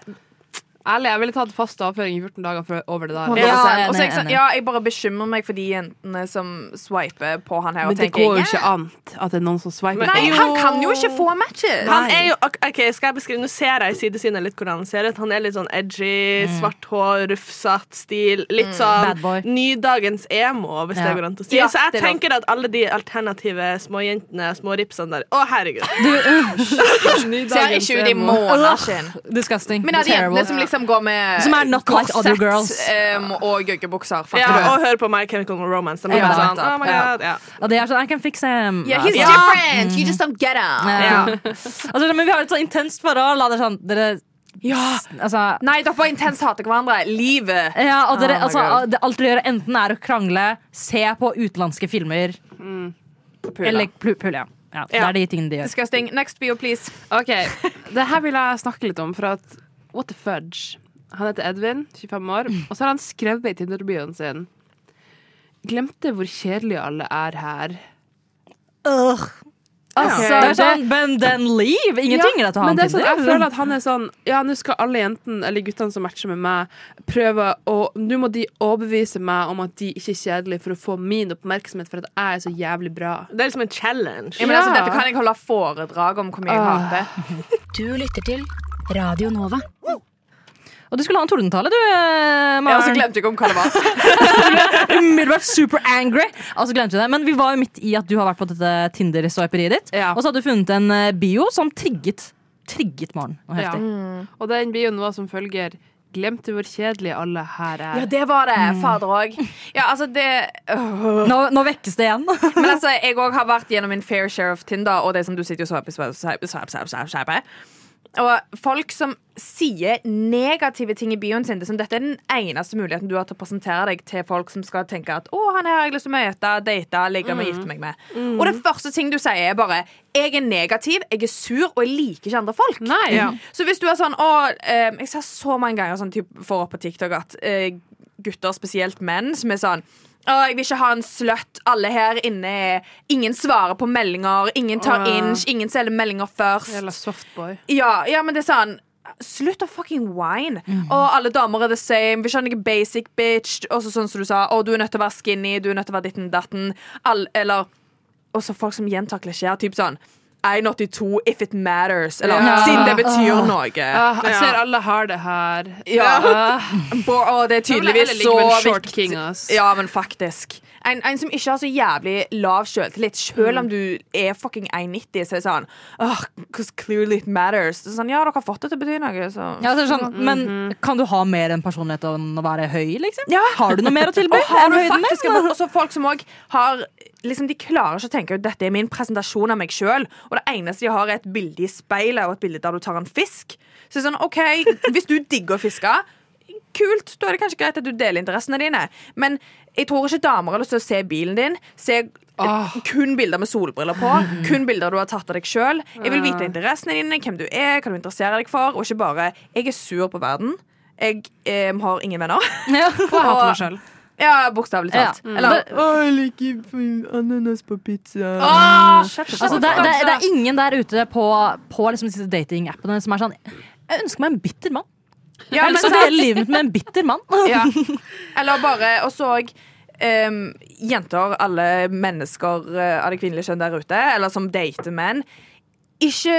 S2: Ærlig, jeg ville tatt fast avføring i 14 dager for, over det der.
S5: Ja,
S6: Ja,
S5: enig,
S6: og så er jeg, sånn,
S5: enig.
S6: ja, jeg bare bekymrer meg for de jentene som swiper på han her.
S2: Men
S6: Og
S2: det
S6: tenker,
S2: går jo
S6: «Ja,
S2: ikke an at det er noen som sveiper.
S6: Nei,
S2: på.
S6: han kan jo ikke få matches.
S7: Han er jo, ok, ok, skal jeg beskrive, Nå ser jeg i sidesynet litt hvordan han ser ut. Han er litt sånn edgy, svart hår, rufsatt stil. Litt
S5: Bad boy.
S7: sånn nydagens emo, hvis
S5: Ja.
S7: det går an å si.
S6: Ja, det
S7: Så jeg
S6: er lov.
S7: tenker at alle de alternative småjentene, småripsene der Å, herregud.
S6: ser ikke ut i måneder sin.
S5: Disgusting.
S6: Men det er de
S5: Terrible.
S6: jentene som liksom går med
S5: Som er not like other girls.
S6: em, og gøggebukser. fatter
S7: Ja,
S6: du?
S7: og hør på My Chemical Romance. De blir
S5: Ja,
S7: bare sånn,
S6: nettopp.
S7: oh my god, ja.
S5: Og det er sånn I can fix him.
S6: Yeah, he's
S5: Altså,
S6: different. You just don't get him.
S5: ja. altså, men vi har et så intenst forhold. Og det er sånn, dere, altså,
S6: Nei, dere bare intenst hater hverandre. Livet.
S5: ja, og dere,
S6: Oh my
S5: altså,
S6: God.
S5: det, alt dere gjør, enten er å krangle, se på utenlandske filmer
S6: Mm.
S5: eller pl- pule. Ja. Ja, Det
S7: Ja.
S5: er de tingene de gjør.
S6: Disgusting. Next bio, please.
S2: Ok, det her vil jeg snakke litt om, for at What the fudge? Han heter Edvin, 25 år, og så har han skrevet i Tinder-bioen sin Glemte hvor kjedelig alle er her.
S5: Altså, det er sånn, men den liv! Ingenting er det til å ha
S2: men
S5: en
S2: det er sånn,
S5: Tinder.
S2: jeg føler at han er sånn Ja, nå skal alle jentene eller guttene som matcher med meg, prøve å Nå må de overbevise meg om at de ikke er kjedelige, for å få min oppmerksomhet for at jeg er så jævlig bra.
S7: Det er liksom en challenge.
S6: Ja, men altså,
S2: Ja.
S6: dette kan jeg holde foredrag om hvor mye jeg
S2: Ah.
S6: hater.
S1: Du lytter til Radio Nova.
S5: Og du skulle ha en tordentale, du, eh,
S6: Ja, Og så
S5: Maren.
S6: glemte jeg om hva det var.
S5: Umiddelbart super angry. Og så glemte vi det. Men vi var jo midt i at du har vært på dette Tinder-swiperiet ditt.
S2: Ja.
S5: Og så hadde du funnet en eh, bio som trigget Trigget Maren. noe
S2: Ja.
S5: heftig.
S2: Og den bioen var som følger Glemte hvor kjedelige alle her er.
S6: Ja, det var det. Fader òg. Ja, altså, det øh.
S5: Nå, nå vekkes det igjen.
S6: Men altså, jeg òg har vært gjennom min fair share of Tinder, og det som du sitter og så på swipe, swipe, swipe, swipe, swipe, swipe. Og folk som sier negative ting i bioen sin. Det er som dette er den eneste muligheten du har til å presentere deg til folk som skal tenke at 'Å, han her har jeg lyst til å møte, date, ligge
S2: Mm.
S6: med, gifte meg med'. Og det første ting du sier, er bare 'Jeg er negativ, jeg er sur, og jeg liker ikke andre folk'.
S2: Nei. Ja.
S6: Så hvis du er sånn å, eh, Jeg ser så mange ganger sånn typ, får opp på TikTok at eh, gutter, spesielt menn, som er sånn å, jeg vil ikke ha en sløtt. Alle her inne er Ingen svarer på meldinger. Ingen tar
S2: Åh.
S6: inch. Ingen selger meldinger først.
S2: Jævla softboy.
S6: Ja, ja, men det er sånn Slutt å fucking whine.
S2: Mhm.
S6: Og alle damer er the same. Vi skjønner ikke basic bitch. Og så sånn som du sa, å, du er nødt til å være skinny, du er nødt til å være ditten datten. All, eller Og så folk som gjentar klisjeer, typ sånn I82 if it matters. Eller
S2: Ja.
S6: siden det betyr noe.
S2: Ah, jeg
S7: Ja.
S2: ser alle har det her.
S6: Ja. Bo, å, det er tydeligvis så
S2: short
S6: viktig.
S2: king, ass.
S6: Ja, men faktisk. En, en som ikke har så jævlig lav selvtillit, selv
S2: Mm.
S6: om du er fucking 1,90, så er det sånn «Åh, 'Cause clearly it matters'. Så sånn, ja, dere har fått det til å bety noe, så
S5: Ja, så er det sånn, men kan du ha mer enn personlighet enn å være høy, liksom? Har du noe mer å tilby?
S6: Og har
S5: enn
S6: du
S5: høyden din?
S6: faktisk Og så folk som òg har liksom, De klarer ikke å tenke at dette er min presentasjon av meg sjøl, og det eneste de har, er et bilde i speilet og et bilde der du tar en fisk. Så det er sånn, OK, hvis du digger å fiske, kult, da er det kanskje greit at du deler interessene dine, men jeg tror ikke damer har lyst til å se bilen din. Se eh, Kun bilder med solbriller på. Kun bilder du har tatt av deg sjøl. Jeg vil
S5: Ah.
S6: vite interessene dine, hvem du er, hva du interesserer deg for, og ikke bare 'jeg er sur på verden', 'jeg eh, har ingen venner'.
S5: Ja.
S2: Og jeg hater meg sjøl.
S6: Ja, bokstavelig talt.
S5: Ja. Mm.
S6: Eller
S5: Det-
S7: jeg liker ananas på pizza.
S5: Altså, det, det, det er ingen der ute på, på liksom disse datingappene som er sånn Jeg ønsker meg en bitter mann.
S6: ja,
S5: jeg
S6: men,
S5: ønsker å dele livet mitt med en bitter mann.
S6: ja. Eller bare Og så ehm, jenter, alle mennesker eh, av det kvinnelige kjønn der ute, eller som dater menn, ikke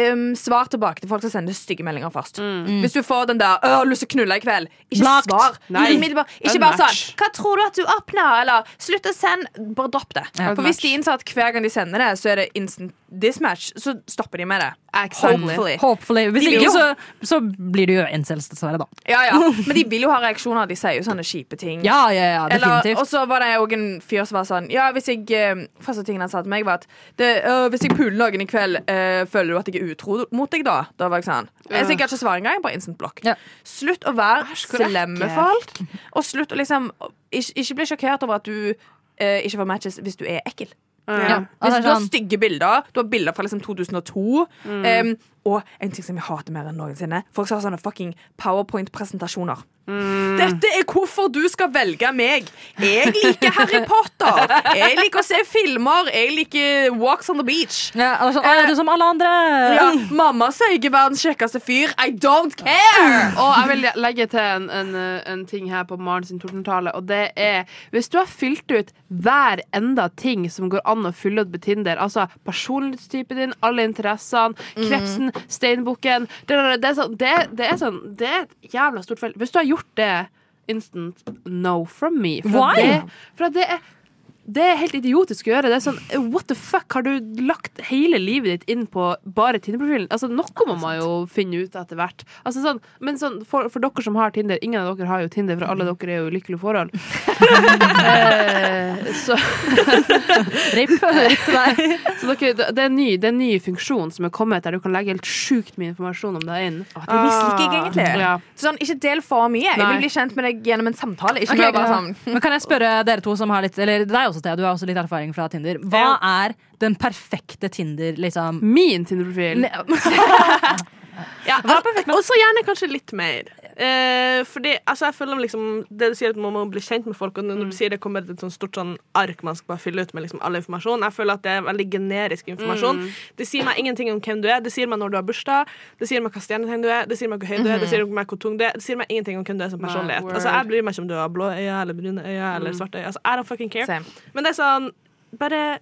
S6: um, svar tilbake til folk som sender stygge meldinger først. Hvis du får den der «Å, 'Har du lyst til å knulle i kveld', ikke
S5: Mm.
S6: svar.
S5: Blocked.
S2: Nei.
S6: Umiddelbart. Ikke bare
S2: Unmatch.
S6: sånn 'Hva tror du at du oppnår?' Eller 'Slutt å sende'. Bare dropp det. For hvis
S2: Unmatch.
S6: de innser at hver gang de sender det, så er det instant dismatch, så stopper de med det.
S2: Exactly.
S6: Hopefully.
S5: Hopefully. Hvis
S6: vil
S5: ikke,
S6: jo-
S5: så, så blir du jo incels, dessverre, da.
S6: Ja, ja. Men de vil jo ha reaksjoner. De sier jo sånne kjipe ting.
S5: Ja, ja, ja,
S6: Eller,
S5: definitivt.
S6: og så var det òg en fyr som var sånn Ja, hvis jeg eh, Første tingen han sa til meg, var at det, «Å, Hvis jeg puler noen i kveld, eh, føler du at jeg er utro mot deg da? Da var jeg sånn Jeg skal ikke svare engang. Bare instant block.
S5: Ja.
S6: Slutt å være
S2: hvor
S6: slem med
S2: ekkelt.
S6: folk, og slutt å liksom ikke, ikke bli sjokkert over at du eh, ikke får matches hvis du er ekkel.
S5: Ja.
S2: Ja.
S5: Altså,
S6: Hvis du har
S5: sånn- Mm.
S6: stygge bilder, du har bilder fra liksom 2002 em, ehm, Og en ting som jeg hater mer enn noensinne Folk som har sånne fucking powerpoint-presentasjoner
S5: Mm.
S6: Dette er hvorfor du skal velge meg Jeg liker Harry Potter Jeg liker å se filmer Jeg liker Walks on the Beach
S5: ja, eller sånn, «Å, er du som alle andre?
S6: ja, Mamma sier ikke verdens kjekkeste fyr I don't care
S2: Og jeg vil legge til en, en, en ting her på Maren sin tordentale, og det er Hvis du har fylt ut hver enda ting som går an å fylle ut på Tinder, altså personlighetstypen din, alle interessene, krepsen, steinbukken det, det, det, er sånn, det, det er sånn Det er et jævla stort felt. Hvis du har gjort det instant no from me For,
S5: Why?
S2: at Det, for at det er det er helt idiotisk å gjøre. Det er sånn, What the fuck, har du lagt hele livet ditt inn på bare Tinder-profilen? Altså, Noe må man jo finne ut etter hvert. Altså, sånn, men sånn, for, for dere som har Tinder Ingen av dere har jo Tinder, for alle
S5: Mm.
S2: dere er jo i lykkelige forhold. eh, så
S5: Rip, rip til deg.
S2: så dere, det, er en ny, det er en ny funksjon som er kommet, der du kan legge helt sjukt mye informasjon om deg inn.
S5: Ah.
S6: Det misliker jeg egentlig
S2: Ja.
S6: sånn, Ikke del for mye Jeg
S2: Nei.
S6: vil bli kjent med deg gjennom en samtale Ikke
S5: Ok,
S6: bare
S5: ja.
S6: sånn
S5: Men kan jeg spørre dere to som har litt Eller deg også, Thea, du har også litt erfaring fra Tinder. Hva er den perfekte Tinder, liksom?
S2: Min Tinder-profil.
S7: Og så gjerne kanskje litt mer. Eh, fordi altså, jeg føler om liksom Det du sier at man må bli kjent med folk, og når du sier det kommer et sånn stort sånn ark man skal bare fylle ut med liksom all informasjon, jeg føler at det er veldig generisk informasjon. Det sier meg ingenting om hvem du er, det sier meg når du har bursdag, det sier meg hva stjernetegn du er, det sier meg hvor høy du er, det sier meg hvor tung du er, det sier meg ingenting om hvem du er som personlighet.
S2: word.
S7: Altså, jeg bryr meg ikke om du har blå øyne eller brune øyne eller svarte øyne. Altså, I don't fucking care.
S6: Same.
S7: Men det er sånn Bare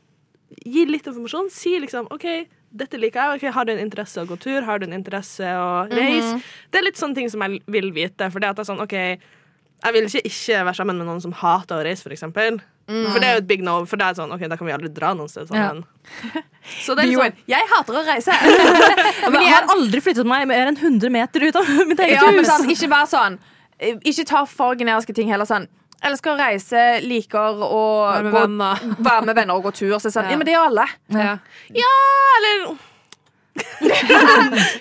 S7: gi litt informasjon. Si liksom OK, dette liker jeg. Ok, har du en interesse å gå tur? Har du en interesse å
S6: Mhm.
S7: reise? Det er litt sånne ting som jeg vil vite. For det at det er sånn OK, jeg vil ikke ikke være sammen med noen som hater å reise, for eksempel.
S6: Mhm.
S7: For det er jo et big no. For det er sånn OK, da kan vi aldri dra noen sted sammen. Så det er litt
S6: Bjørn,
S7: sånn
S6: Jeg hater å reise
S5: liksom- Men jeg har aldri flyttet meg mer enn 100 meter ut av mitt eget
S6: Ja, men
S5: hus.
S6: sånn, ikke bare sånn eh, Ikke ta for generiske ting heller sånn Elsker å reise, liker å
S2: Være med
S6: gå-
S2: venner.
S6: være med venner og gå tur. Så er det sånn, ja. men det gjør alle.
S2: Ja.
S7: Eller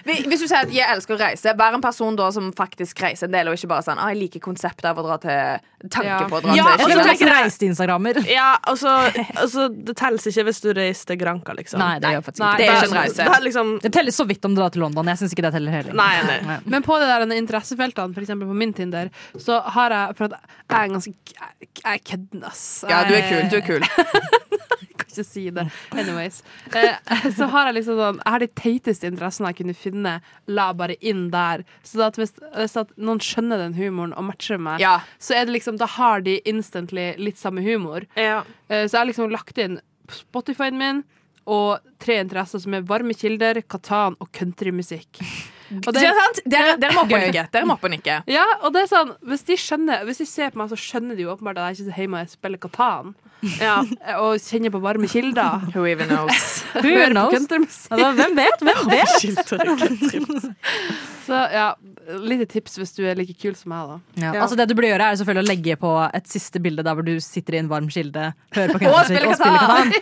S6: Hvis hvis du sier at jeg elsker å reise, vær en person da som faktisk reiser en del, og ikke bare sånn ah, 'Jeg liker konseptet av å dra til Tanke
S2: Ja.
S6: på å dra
S7: Ja,
S5: Jeg
S6: til
S5: tror
S7: og så
S5: jeg
S7: tenker
S5: ikke
S7: jeg-
S5: reiste Instagrammer.
S7: Ja, altså, altså Det telles ikke hvis du reiser til Granca, liksom.
S5: Nei, det gjør jeg faktisk
S2: Nei.
S5: ikke.
S6: Det er ikke en
S7: Da-
S6: reise.
S7: da er liksom
S5: Det teller så vidt om du drar til London. Jeg syns ikke det teller heller.
S7: Nei, nei.
S2: Men på det der interessefeltene, for eksempel på min Tinder, så har jeg For at jeg er ganske Jeg er kødden, ass.
S6: Ja, du er kul. Du er kul.
S2: kan ikke si det. Anyways. Eh, så har jeg liksom sånn Jeg har de teiteste interessene jeg kunne finne. La bare inn der. Så at hvis, hvis at noen skjønner den humoren og matcher meg,
S6: Ja.
S2: så er det liksom Da har de instantly litt samme humor.
S7: Ja.
S2: Eh, så jeg har liksom lagt inn Spotify-en min. Og tre interesser som er varme kilder, Katan og countrymusikk. Og
S6: Det er sant? Dere, dere må opp og nikke. Dere må opp og nikke.
S2: ja, og det er sånn Hvis de, skjønner, hvis de ser på meg, så skjønner de jo åpenbart at jeg ikke er hjemme og spiller Katan. Og kjenner på varme kilder.
S6: Who even knows?
S5: Who
S2: Hører på
S5: knows?
S2: countrymusikk.
S5: Altså, hvem vet? Hvem vet?
S2: Så ja, lite tips hvis du er like kul som meg, da.
S5: Ja, altså Det du burde gjøre, er jo selvfølgelig å legge på et siste bilde der hvor du sitter i en varm kilde, hører på
S6: Og
S5: kunstmusikk
S6: spiller
S5: og spiller katan.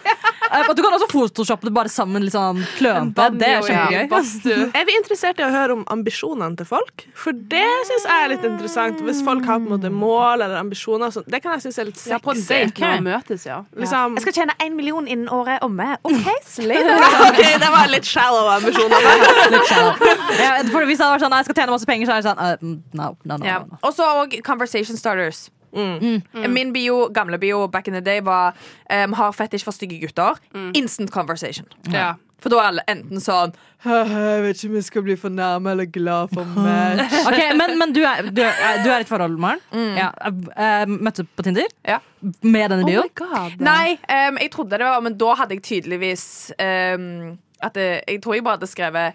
S5: Eh, og Du kan også photoshoppe det bare sammen litt sånn klønete. Det er kjempegøy.
S2: kjempegøy.
S7: Er vi interessert i å høre om ambisjonene til folk? For det syns jeg er litt interessant. Hvis folk har på en måte mål eller ambisjoner, så det kan jeg synes er litt
S2: Ja, på en
S7: sexy.
S2: date når man møtes, ja.
S7: Liksom,
S6: Jeg skal tjene én million innen året er omme. OK, slay.
S7: OK, det var litt shallow ambisjoner.
S5: Litt shallow. ja, for hvis jeg var sånn, «Nei, jeg skal tjene masse penger, så er det sånn eh, mm, no, no, no,
S6: Ja.
S5: no, no.
S6: Og så og conversation starters. Mm. Min bio, gamle bio back in the day var um, Har fetisj for stygge gutter. Instant conversation.
S2: ja.
S6: For da er alle enten sånn
S5: Ok, men, men du, er, du, er, du er i et forhold, Maren. Ja, eh, møtte på Tinder
S6: Ja.
S5: med denne
S2: Oh my
S5: bioen.
S2: god.
S6: ehm, Nei, um, jeg trodde det var Men da hadde jeg tydeligvis um, at det, Jeg tror jeg bare hadde skrevet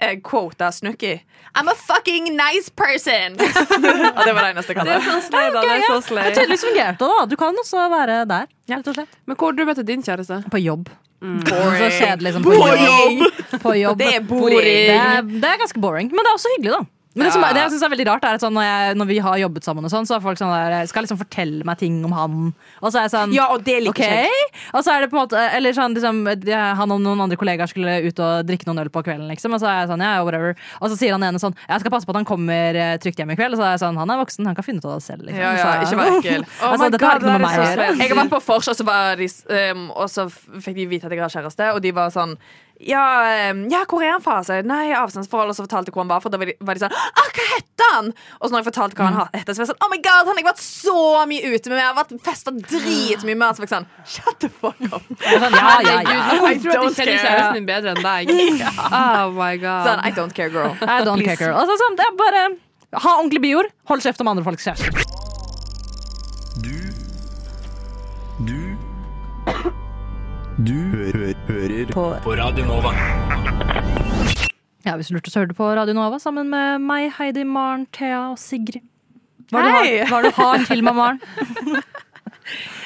S6: eh, quote av Snooki. I'm a fucking nice person! og det var det eneste jeg kalte
S7: Det er så slay, da. Det er så slay.
S5: Tydeligvis fungerte det, da. Du kan også være der, rett og slett.
S2: Men hvor har du møtte din kjæreste?
S5: På jobb.
S6: Boring.
S5: Så kjedelig som på jobb. På jobb.
S6: Det er boring.
S5: Det er, det er ganske boring, men det er også hyggelig, da. Men det, som,
S6: Ja.
S5: det jeg synes er veldig rart er at sånn, når, jeg, når vi har jobbet sammen, og sånn, så er folk sånn der, skal liksom fortelle meg ting om han. Og så er jeg sånn
S6: Ja, og det liker
S5: Ok,
S6: ikke jeg.
S5: og så er det på en måte Eller sånn, liksom, de- han og noen andre kollegaer skulle ut og drikke noen øl på kvelden, liksom. Og så er jeg sånn, ja, whatever Og så sier han ene sånn Jeg skal passe på at han kommer eh, trygt hjem i kveld. Og så er jeg sånn, han er voksen, han kan finne ut av det selv. Liksom.
S6: Ja, ja,
S5: Så-
S6: ikke vær ekkel.
S5: Altså,
S2: Oh my
S5: dette har
S2: God,
S5: ikke noe med
S2: det
S5: meg
S2: er
S5: å
S2: så
S5: gjøre.
S6: Jeg har vært på vors, og så, var de, um, og så f- fikk de vite at jeg har kjæreste. Og de var sånn ja, um, ja, hvor er han fra? Så jeg, Nei, avstandsforhold. Og så fortalte jeg hvor han var fra. Da var de, var de sånn Å, hva heter han? Og så når jeg fortalte
S5: Mm.
S6: hva han ha- heter, så var jeg sånn Oh my god, han har jeg vært så mye ute med. Jeg har vært festa dritmye med han. Så var jeg sånn Shut the fuck up.
S5: Jeg er sånn, Ja, ja, ja.
S2: Jeg tror at de
S6: Don't
S2: kjenner
S6: care.
S2: kjæresten din bedre enn deg. Oh my
S6: Sånn,
S2: god.
S6: I don't care, girl.
S5: I don't care, girl. Altså, sånn, det er bare ha ordentlig biord. Hold kjeft om andre folks kjærester.
S8: Du Du Du hø hø hører på. Radio Nova.
S5: Ja, Hvis du lurte, så hørte du på Radio Nova sammen med meg, Heidi, Maren, Thea og Sigrid. Hva er det
S6: Hei!
S5: du har, hva er det du har til meg, Maren?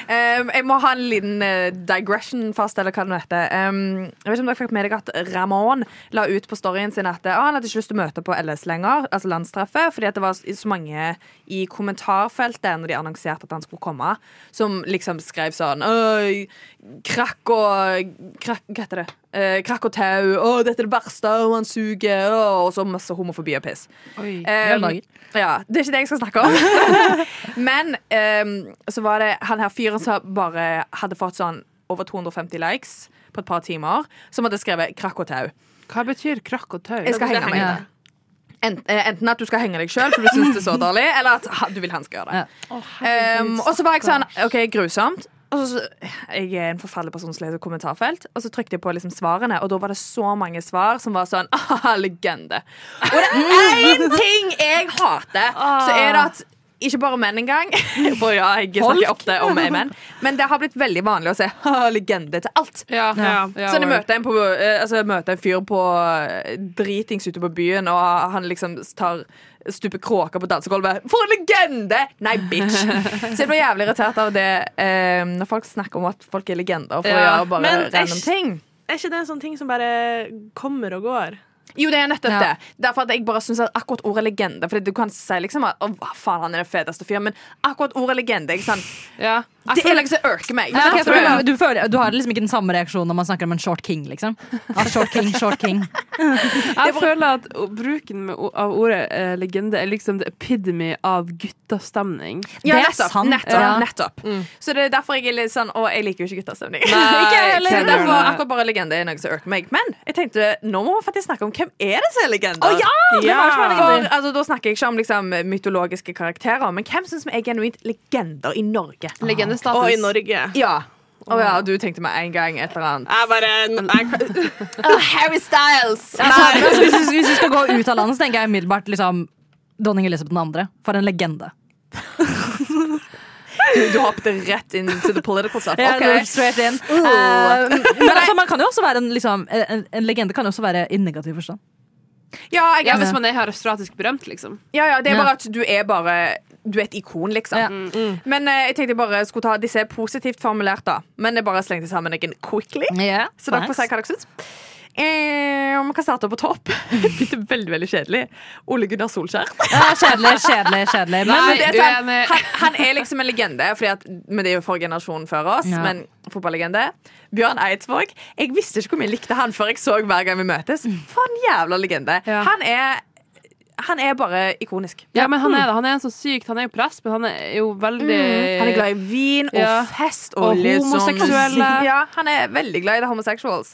S6: Um, jeg må ha en liten eh, digression først, eller hva det nå heter. Um, jeg vet ikke om dere fikk med dere at Ramón la ut på storyen sin at ah, han hadde ikke lyst til å møte på LS lenger, altså landstreffet, fordi at det var så mange i kommentarfeltet når de annonserte at han skulle komme, som liksom skrev sånn «Øy, Krakk og krakk, Hva heter det? Eh, krakk og tau. Å, dette er det verste. Å, han suger. Å, og så masse homofobi og piss.
S2: Oi.
S6: Um,
S5: dager.
S6: ja, det er ikke det jeg skal snakke om. Men um, så var det han her fyren som bare hadde fått sånn over 250 likes på et par timer, som hadde skrevet 'krakk og tau'.
S2: Hva betyr krakk og tau?
S6: Jeg skal henge
S5: Ja.
S6: meg. Ent, eh, enten at du skal henge deg sjøl, for du syns det er så dårlig, eller at ha- du vil han skal gjøre det.
S5: Ja.
S6: Um, og så var jeg sånn OK, grusomt. Og så, jeg er en forferdelig person som leser kommentarfelt. Og så trykte jeg på liksom svarene, og da var det så mange svar som var sånn ah, legende. Og det er én ting jeg hater, så er det at ikke bare menn engang, for ja, jeg snakker ofte om menn, men det har blitt veldig vanlig å se ah, legende til alt.
S2: Ja, ja, ja,
S6: Så når jeg
S2: word.
S6: møter en, på, eh, altså jeg møter en fyr på eh, dritings ute på byen, og han liksom tar stuper kråker på dansegulvet. For en legende! Nei, bitch. Så jeg blir jævlig irritert av det eh, når folk snakker om at folk er legender for å
S2: Ja,
S6: gjøre bare
S7: men
S6: random
S7: æsj.
S6: ting.
S7: Er ikke det en sånn ting som bare kommer og går?
S6: Jo, det er nettopp
S5: Ja.
S6: det. Derfor at jeg bare synes at akkurat ordet legende Fordi du kan si liksom at å, hva faen, han er den feteste fyren, men akkurat ordet legende jeg, sånn,
S2: Ja. Jeg
S6: Det er
S2: føler-
S6: liksom som ørker meg.
S5: Ja, ok,
S6: Forstår
S5: for
S6: du?
S5: du, du, føler, du har liksom ikke den samme reaksjonen når man snakker om en short king, liksom. Ja, short king, short king.
S2: Jeg føler at o- bruken med, o- av ordet eh, legende er liksom the epidemy av guttastemning.
S6: Ja,
S5: Det er
S6: nettopp.
S5: sant,
S6: nettopp,
S5: ja.
S6: nettopp. Så det er derfor jeg er litt sånn Å, jeg liker jo ikke guttastemning.
S2: Nei,
S6: ikke jeg heller.
S2: kjenner
S6: Derfor
S2: det.
S6: akkurat bare legende er noe som ørker meg. Men jeg tenkte, nå må vi faktisk snakke om hvem er det som er legende. For, altså, da snakker jeg ikke om liksom, mytologiske karakterer, men hvem syns vi er genuint legender i Norge?
S2: Legendestatus.
S7: Og i Norge.
S6: Ja. Å ja, du tenkte med en gang et eller annet.
S7: Jeg bare jeg,
S6: Harry Styles!
S5: Altså, altså, hvis, du- hvis du skal gå ut av landet, så tenker jeg umiddelbart liksom, dronning Elisabeth 2. For en legende.
S6: Du, du hoppet rett inn to the political stuff.
S5: Ja,
S6: Ok.
S5: det var straight in. Eh, men altså, man kan jo også være en, liksom, en, en legende kan jo også være i negativ forstand.
S6: Ja, jeg,
S2: Ja, hvis man er herostratisk berømt, liksom.
S6: Ja, ja, det er
S5: Ja.
S6: bare at du er bare Du er et ikon, liksom.
S5: Ja.
S6: Men eh, jeg tenkte jeg bare skulle ta Disse er positivt formulert, da. Men jeg bare slengte sammen noen quickly.
S5: Yeah,
S6: Så dere får si hva dere syns. Eh, Vi kan starte på topp. Begynte veldig veldig kjedelig. Ole Gunnar Solskjær.
S5: Ja, kjedelig, kjedelig, kjedelig. Men,
S2: Nei,
S6: Men det er sånn,
S2: uenig.
S6: han, han er liksom en legende, fordi at, men det er jo for generasjonen før oss.
S5: Ja.
S6: Men fotballegende. Bjørn Eidsvåg. Jeg visste ikke hvor mye jeg likte han før jeg så hver gang vi møtes. For en jævla legende.
S2: Ja.
S6: Han, er, han er bare ikonisk.
S2: Ja, men han er det. Han er en så sykt Han er jo prest, men han er jo veldig
S6: Mm. Han er glad i vin og
S2: Eh, Ja.
S6: fest
S2: Og
S6: litt sånn-
S2: homoseksuelle.
S6: Ja, han er veldig glad i det homosexuals.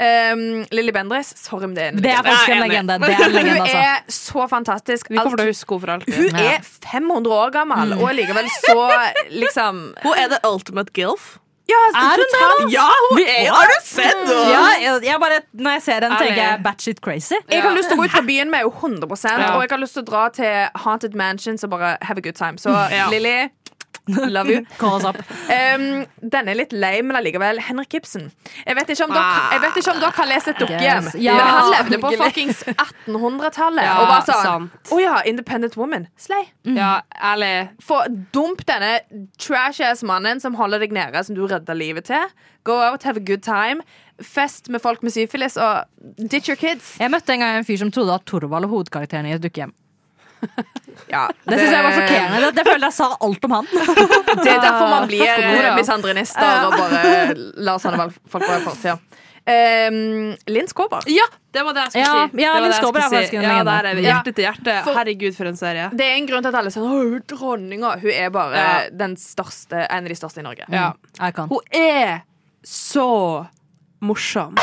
S6: Um, Lilly Bendriss, sorry om det er en
S5: Det er
S6: legende.
S5: faktisk en
S6: Nei, jeg
S5: legende.
S6: enig.
S5: Det er en legende,
S6: Hun
S5: altså.
S6: er så fantastisk.
S2: Vi kommer
S6: Alt-
S2: til å huske henne Mm. for alltid.
S6: hun er 500 år gammel og er likevel så liksom
S7: hun er the ultimate gilf.
S6: ja,
S2: altså,
S5: Er hun det, da?
S7: Ja, hun er jo Har du sett henne?
S5: ja, jeg, jeg bare, når jeg ser den, tenker jeg batshit crazy.
S6: Jeg har lyst til å gå ut på byen med henne 100
S2: Ja.
S6: og jeg har lyst til å dra til Haunted Mansions og bare have a good time. Så Lilly Love you.
S5: Call us up.
S6: Um, den er litt lei, men allikevel Henrik Ibsen. Jeg vet ikke om dere, jeg vet ikke om dere har lest et dukkehjem,
S5: Yes. Ja,
S6: men han levde på
S5: hyggelig.
S6: fuckings 1800-tallet
S2: Ja,
S6: og var sånn
S2: sant.
S6: Å ja, Independent Woman. Slay.
S2: Ja, ærlig.
S6: Få dump denne trash-ass mannen som holder deg nede, som du redder livet til. Go out, have a good time. Fest med folk med syfilis, og ditch your kids.
S5: Jeg møtte en gang en fyr som trodde at Torvald var hovedkarakteren i et dukkehjem.
S6: Ja,
S5: Det synes jeg var sjokkerende. Det, det føler jeg sa alt om han.
S6: Det er derfor man blir
S5: Første ordet,
S6: eh,
S5: ja.
S6: misandrinister og bare lar sånne valg- folk være fortida. Um, Linn Skåber.
S2: Ja, det var det jeg
S5: Ja,
S2: skulle si.
S5: ja,
S2: det var
S5: Linn
S2: det jeg
S5: Skåber er
S2: skulle
S5: faktisk en
S2: Ja,
S5: legende.
S2: der er vi.
S6: Ja.
S2: Hjerte til hjerte.
S6: For-
S2: Herregud, for en serie.
S6: Det er en grunn til at alle sier «Åh, hun er dronninga. Hun er bare
S2: Ja.
S6: den største, en av de største i Norge.
S2: Ja.
S5: Jeg kan.
S2: Hun er så morsom.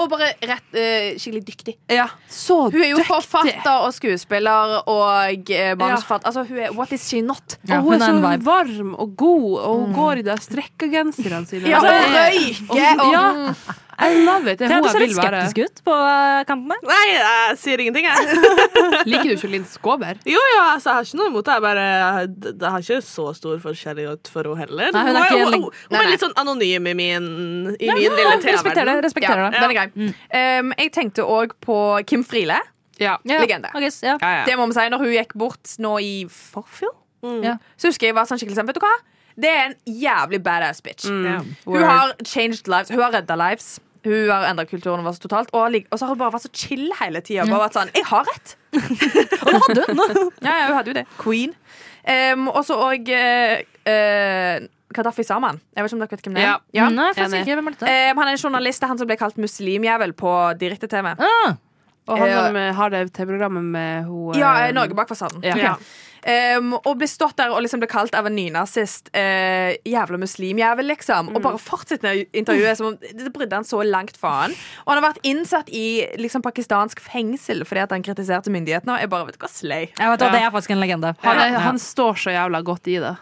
S6: Og bare rett, eh, skikkelig dyktig.
S2: Ja, så
S6: Hun er jo forfatter og skuespiller og eh, manusforfatter. Altså, hun er What is she not?
S5: Ja,
S2: og
S5: hun
S2: hun,
S5: er
S2: er så
S5: en vibe. Mm.
S2: varm og god, og hun går i de strekkagenserne sine.
S6: Ja, og
S2: Altså, jeg-
S6: røyker og
S2: Ja, I love it. Det er
S5: Thea,
S2: hun
S5: du
S2: jeg
S5: ser litt
S2: vil være.
S5: skeptisk ut på eh, kanten der.
S7: Nei, jeg sier ingenting, jeg.
S2: Liker du ikke Linn Skåber?
S7: Jo, jo, altså, jeg har ikke noe imot det. Jeg bare, det det har ikke så stor forskjellighet for henne heller.
S5: Nei, hun er
S7: Hun
S5: ikke
S7: hun-
S5: leng-
S7: hun
S6: Nei,
S7: er
S6: nei.
S7: litt sånn anonym i min, i min lille
S5: Respekterer det.
S7: TV-verden.
S5: respekterer det.
S6: Den er grei.
S2: Mm.
S6: Um, jeg tenkte òg på Kim Friele.
S2: Ja.
S5: Ja.
S6: Legende.
S5: Ok, s- ja.
S2: Ja, ja.
S6: Det må vi si når hun gikk bort nå i forfjor.
S5: Ja.
S6: Så husker jeg var sånn skikkelig sånn, vet du hva? Det er en jævlig badass
S2: Mm.
S6: bitch. Hun
S7: Mm.
S2: Word.
S6: har changed lives. Hun har redda lives. Hun har endra kulturen vår totalt. Og, lik- og så har hun bare vært så chill hele tida. Bare vært sånn Jeg har rett!
S5: Og det hadde hun!
S6: Ja, ja, hun hadde jo det. Queen. Um, og så eh, òg Kadafi Saman. Jeg vet ikke om dere vet hvem det er.
S2: Ja.
S5: Mm, Nei, faktisk
S2: Enig.
S5: ikke. Hvem er dette?
S6: Um, han er en journalist. Det er han som ble kalt muslimjævel på direkte-TV.
S5: Ah,
S2: Og han som eh, har det TV-programmet med hun eh,
S6: Ja, eh, Norge bak fasaden.
S2: Ja.
S6: Ja. Um, og ble stått der og liksom ble kalt av en nynazist uh, jævla muslimjævel, liksom.
S2: Mm.
S6: Og bare fortsatt med intervjuet som om det brydde han så langt faen. Og han har vært innsatt i liksom pakistansk fengsel fordi at han kritiserte myndighetene. Og jeg bare vet du hva, slay.
S5: jeg vet, hva, Det er faktisk en legende.
S2: Han, er,
S5: Ja.
S2: han står så jævla godt i det.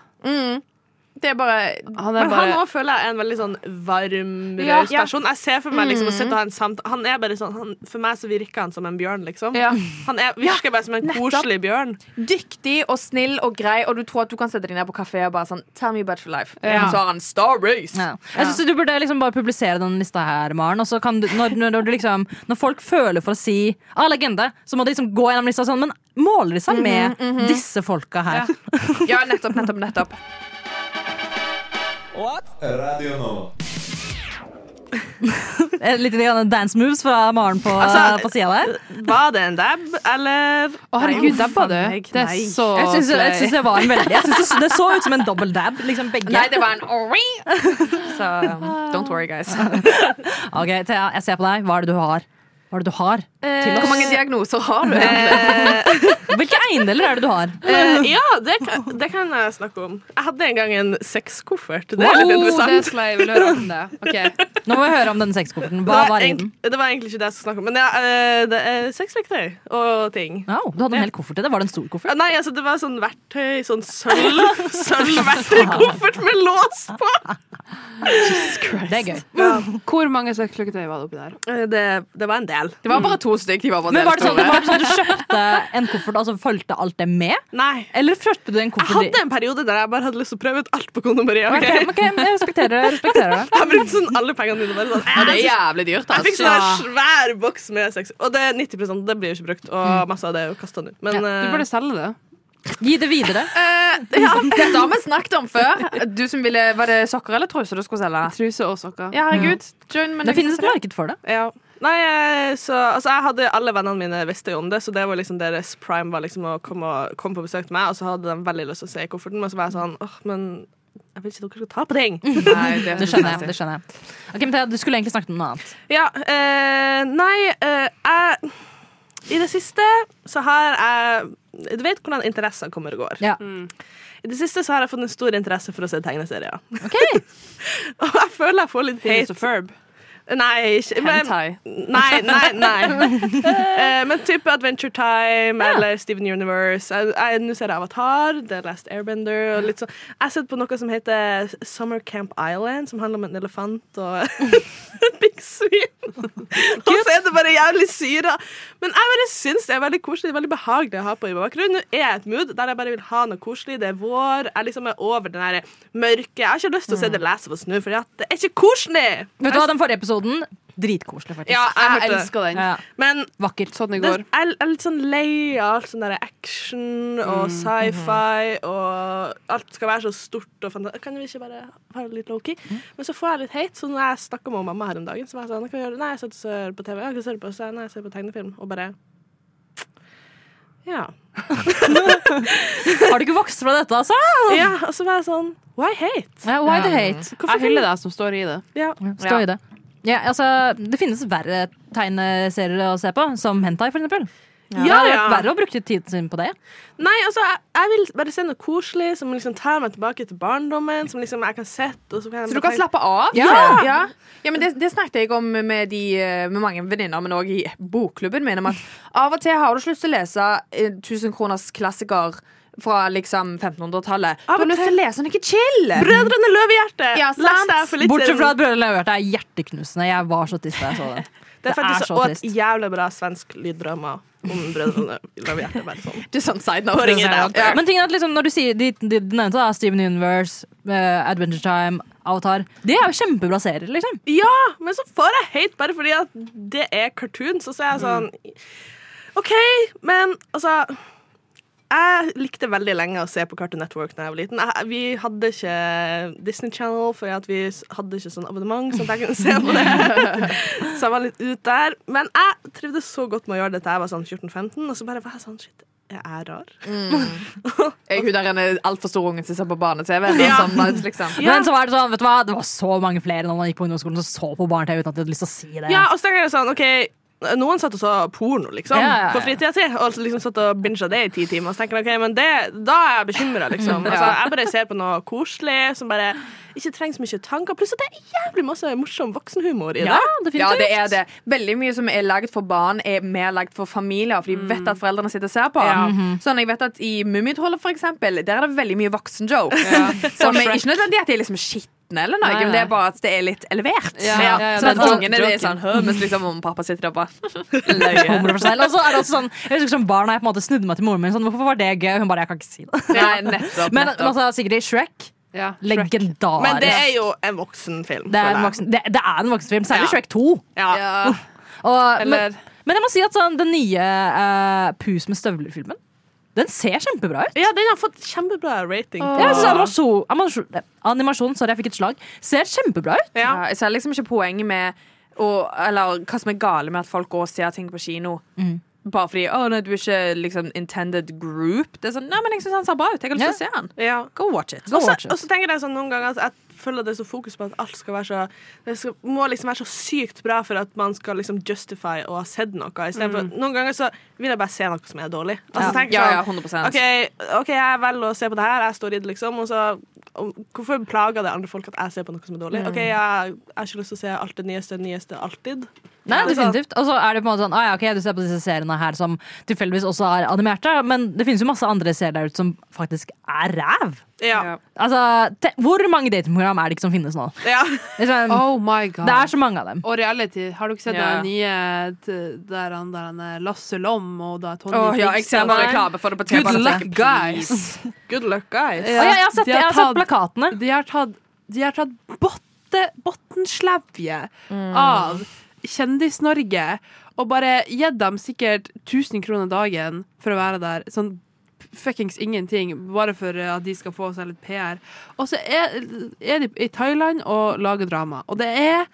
S6: Det er bare
S2: Han er
S7: Men han
S2: bare
S7: òg føler jeg er en veldig sånn varm,
S6: Ja.
S7: raus person. Jeg ser for meg liksom å sitte og ha en samt Han er bare sånn han, For meg så virker han som en bjørn, liksom.
S2: ja.
S7: Han er, virker bare som en
S6: nettopp.
S7: koselig bjørn.
S6: dyktig og snill og grei, og du tror at du kan sette deg ned på kafé og bare sånn Tell me about your life.
S2: Ja.
S6: Og så har han Star Race.
S5: Ja. Jeg synes Du burde liksom bare publisere den lista her, Maren. Og så kan du, når, når, du liksom, når folk føler for å si ah, 'legende', så må de liksom gå gjennom lista og sånn. Men måler de seg med disse folka her?
S6: Mhm, Ja, nettopp, nettopp, nettopp.
S3: Radio nå.
S5: Eh, Litt grann dance moves fra Maren på, eh,
S7: Altså,
S5: på sida der.
S7: Var det en dab, eller
S2: Å, herregud, dabba du? Det er så
S5: Jeg syns, jeg
S2: slay.
S5: synes det var en veldig Jeg synes det, det så ut som en double dab, liksom begge.
S6: Nei, det var en ori. Så um, don't worry, guys.
S5: Ok, Thea, jeg ser på deg. Hva er det du har? Hva er det du har? Til
S6: Hvor mange
S5: oss?
S6: diagnoser har du?
S2: Eh,
S5: Hvilke eiendeler er det du har?
S7: Eh, Ja, det, kan- det kan jeg snakke om. Jeg hadde en gang en sexkoffert. Det er
S2: Oh,
S7: litt
S2: det er
S7: interessant.
S2: slay. Vil du høre om det? Ok.
S5: Nå må vi høre om den sexkofferten. Hva var i
S7: egentlig-
S5: den?
S7: det var egentlig ikke det jeg skulle snakke om. Men ja, eh, det er sexleketøy og ting.
S5: Au, du hadde en hel koffert i det. Var det en stor koffert?
S7: Ah, Nei, altså det var sånn verktøy, sånn sølv, sølvverktøykoffert med lås på.
S5: Det er gøy.
S2: Hvor mange sexleketøy var det oppi der?
S7: Eh, Det, det var en del.
S6: Det var bare to stykker. De var bare
S5: Men var det sånn,
S6: delt over.
S5: var det sånn at du kjøpte en koffert og så fulgte alt det med?
S7: Nei.
S5: Eller kjøpte du en
S7: Jeg
S5: koffert
S7: hadde en periode der jeg bare hadde lyst til å prøve ut alt på kondomeriet. ok?
S5: Ok, ok, men jeg respekterer det. Jeg respekterer det.
S7: Jeg brukte sånn alle pengene mine. Bare sånn,
S6: Ja, det
S7: jeg
S6: er jævlig dyrt,
S7: jeg fikk
S6: altså.
S7: sånn her svær boks med sex. Og det er 90 det blir jo ikke brukt. Og masse av det er jo kasta nå. Men
S2: Du
S7: eh,
S2: burde selge det.
S5: Gi det videre.
S6: Ja, dette har vi snakket om før. Du som ville, Var det sokker eller truser du skulle selge?
S2: Truse og sokker.
S6: Ja, herregud. Join, men
S5: Det finnes et marked for det.
S7: ja. Nei, eh, så altså, jeg hadde Alle vennene mine visste jo om det, så det var liksom deres prime var liksom å komme, og, komme på besøk til meg. Og så hadde de veldig lyst til å se i kofferten, men så var jeg sånn åh, men jeg vil ikke dere skal ta på ting.
S6: Nei, det,
S5: Det skjønner jeg. det skjønner jeg. Ok, men Thea, Du skulle egentlig snakket om noe annet.
S7: Ja, eh, nei eh, jeg, I det siste så har jeg Du vet hvordan interesser kommer og går.
S5: Ja.
S7: I det siste så har jeg fått en stor interesse for å se tegneserier.
S5: Ok,
S7: Og jeg føler jeg får litt hate.
S2: Ferb.
S7: Nei, ikke men-
S6: Hentai.
S7: Nei, nei, nei. Eh, men type Adventure Time eller Steven Universe. Jeg- jeg- Nå ser jeg Avatar, The Last Airbender og litt sånn. Jeg har sett på noe som heter Summer Camp Island, som handler om en elefant og Big Swim. og så er det bare jævlig syra. Men jeg bare syns det er veldig koselig. Det er veldig behagelig å ha på i bakgrunnen. Nå er jeg i et mood der jeg bare vil ha noe koselig. Det er vår. Jeg liksom er over den der mørke. Jeg har ikke lyst til å se The Last of Us nå, for det er ikke koselig.
S5: Vet du hva, den forrige episoden Dritkoselig, faktisk.
S7: Ja, jeg,
S2: Jeg
S7: hørte det.
S2: elsker den.
S5: Ja.
S7: Men
S5: Vakkert.
S2: Sånn i
S7: det,
S2: går.
S7: jeg jeg er litt sånn lei av alt sånn der action og sci-fi og alt skal være så stort og fantastisk. Kan vi ikke bare være litt low-key? Men så får jeg litt hate, så når jeg snakka med mamma her om dagen, så var jeg sånn "Hva kan vi gjøre? Nei, jeg sitter og ser på TV. Ja, hva ser du på? Så jeg, nei, jeg ser på tegnefilm. Og bare Ja.
S5: Har du ikke vokst fra dette, altså?
S7: ja og så var jeg sånn Why hate?
S5: Ja, why the hate?
S2: Jeg hyller deg som står i det.
S7: Ja.
S5: Stå i det. Ja, altså, det finnes verre tegneserier å se på, som Hentai, for eksempel.
S7: Ja,
S5: Det hadde
S7: ja.
S5: vært verre å bruke tiden sin på det.
S7: Nei, altså, jeg, jeg vil bare se noe koselig som liksom tar meg tilbake til barndommen. Som liksom jeg kan sette og så kan jeg
S6: Så du kan
S7: bare tenke-
S6: slappe av?
S5: Ja.
S6: ja. Ja, men det, det snakket jeg om med, de, eh, med mange venninner, men òg i bokklubben min. Om at av og til har du ikke lyst til å lese eh, 1000 kroners klassiker fra liksom 1500-tallet. Du
S7: Av
S6: har
S7: og
S6: lyst til å lese noe chill!
S7: Brødrene Løvehjerte!
S6: Ja, sant.
S7: Leste jeg for litt
S5: Bortsett
S7: siden.
S5: fra at Brødrene Løvehjerte er hjerteknusende. Jeg var så trist da jeg så den.
S7: Det er faktisk
S5: så
S7: også
S5: trist.
S7: et jævlig bra svensk lyddrama om brødrene Løvehjerte. bare sånn.
S6: Det er sånn side note.
S7: Bring it out.
S6: Ja.
S5: Men tingen er at liksom, når du sier de, de, de nevnte, da, Steven Universe, eh, Adventure Time, Avatar De er jo kjempebra serier, liksom.
S7: Ja, men så får jeg hate bare fordi at det er cartoons, og så er jeg sånn OK, men altså jeg likte veldig lenge å se på Cartoon Network da jeg var liten. Jeg, vi hadde ikke Disney Channel, for at vi s- hadde ikke sånn abonnement, så jeg kunne se på det. så jeg var litt ut der. Men jeg trivdes så godt med å gjøre det til jeg var sånn 14-15, og så bare var jeg sånn Shit, jeg er rar.
S6: Jeg er hun der en altfor stor ungen som ser på barne-TV. Ja.
S7: Ja.
S6: liksom.
S7: Ja.
S5: Men så var det sånn, vet du hva, det var så mange flere når man gikk på ungdomsskolen som så på barne-TV uten at de hadde lyst til å si det.
S7: Ja, og så tenker jeg sånn, ok noen satt og så porno liksom,
S5: Ja, ja, ja.
S7: på fritida si, og liksom satt og binga det i ti timer. Og så tenker jeg, ok, men det, Da er jeg bekymra, liksom. Altså, jeg bare ser på noe koselig som bare ikke trenger så mye tanker. Pluss at det er jævlig masse morsom voksenhumor i det.
S5: Ja, definitivt.
S6: Ja, det er det. Veldig mye som er laget for barn, er mer laget for familier. For de vet at foreldrene sitter og ser på. Sånn, jeg vet at I Mummitrollet, for eksempel, der er det veldig mye voksenjokes. Som er ikke nødvendig at de er liksom skitne eller noe,
S5: Nei,
S6: men det er bare at det er litt elevert.
S2: Ja, ja, ja,
S6: Sånn
S5: det
S6: at
S5: er
S6: ungene de er sånn hø, mens liksom om pappa sitter der og bare løye.
S5: Humor for seg selv. Og så er det også sånn, jeg husker som barn har jeg på en måte snudde meg til moren min sånn, hvorfor var det gøy? Hun bare, jeg kan ikke si det.
S6: Nei, nettopp,
S5: Men
S6: nettopp.
S5: altså, Sigrid Shrek,
S2: Ja. Shrek.
S5: legendarisk.
S7: Men det er jo en voksenfilm.
S5: Det er
S7: føler
S5: en
S7: jeg.
S5: voksen, det, det er en voksenfilm, særlig
S7: Ja.
S5: Shrek 2.
S7: Ja.
S6: Ja.
S5: Og,
S2: Eller-
S5: men, men jeg må si at sånn, den nye eh, Pus med støvler-filmen, den ser kjempebra ut.
S7: ja, den har fått kjempebra rating. på-
S5: Jeg synes animasjon, animasjon, animasjon, sorry, jeg fikk et slag, ser kjempebra ut.
S7: Ja.
S6: Ja, jeg ser liksom ikke poenget med å- Eller hva som er gale med at folk går og ser ting på kino. Bare fordi å, nei, du er ikke liksom intended group. Det er sånn, nei, men jeg syns han ser bra ut. Jeg har lyst til å se han.
S7: Ja.
S6: Go watch it.
S5: Go
S7: Og så-
S5: watch it.
S7: Og så tenker jeg sånn noen ganger at jeg føler det er så fokus på at alt skal være så Det skal, må liksom være så sykt bra for at man skal liksom justify å ha sett noe. i stedet for at Noen ganger så vil jeg bare se noe som er dårlig. Og så tenker jeg
S6: Ja, ja,
S7: sånn,
S6: 100%.
S7: OK, ok, jeg velger å se på det her, jeg står i det, liksom. Og så og Hvorfor plager det andre folk at jeg ser på noe som er dårlig? OK, jeg, jeg har ikke lyst til å se alt det nyeste, det nyeste alltid.
S5: Nei,
S7: Ja.
S5: definitivt. Og så er det på en måte sånn ah, ja, ok, Du ser på disse seriene her som tilfeldigvis også er animerte, men det finnes jo masse andre serier der ute som faktisk er ræv.
S7: Ja.
S5: Altså, te Hvor mange datingprogram er det ikke som finnes nå?
S7: ja.
S5: Liksom,
S2: Oh my god.
S5: Det er så mange av dem.
S2: og reality. Har du ikke sett
S6: Ja.
S2: den nye t- der han, der han er Lasse Lom og da Tony
S6: Åh, ja, jeg ser bare
S2: Bigstad?
S6: reklame for det på
S2: Good
S6: T-banen.
S2: luck, guys.
S7: Good luck, guys.
S5: Å, ja, jeg har sett,
S2: de
S5: jeg har
S2: tatt-
S5: sett plakatene.
S2: De har tatt, de har tatt botte, bottenslevje
S5: Mm.
S2: av Kjendis-Norge og bare gitt dem sikkert 1000 kroner dagen for å være der. Sånn fuckings ingenting, bare for eh, at de skal få seg litt PR. Og så er, er de i Thailand og lager drama. Og det er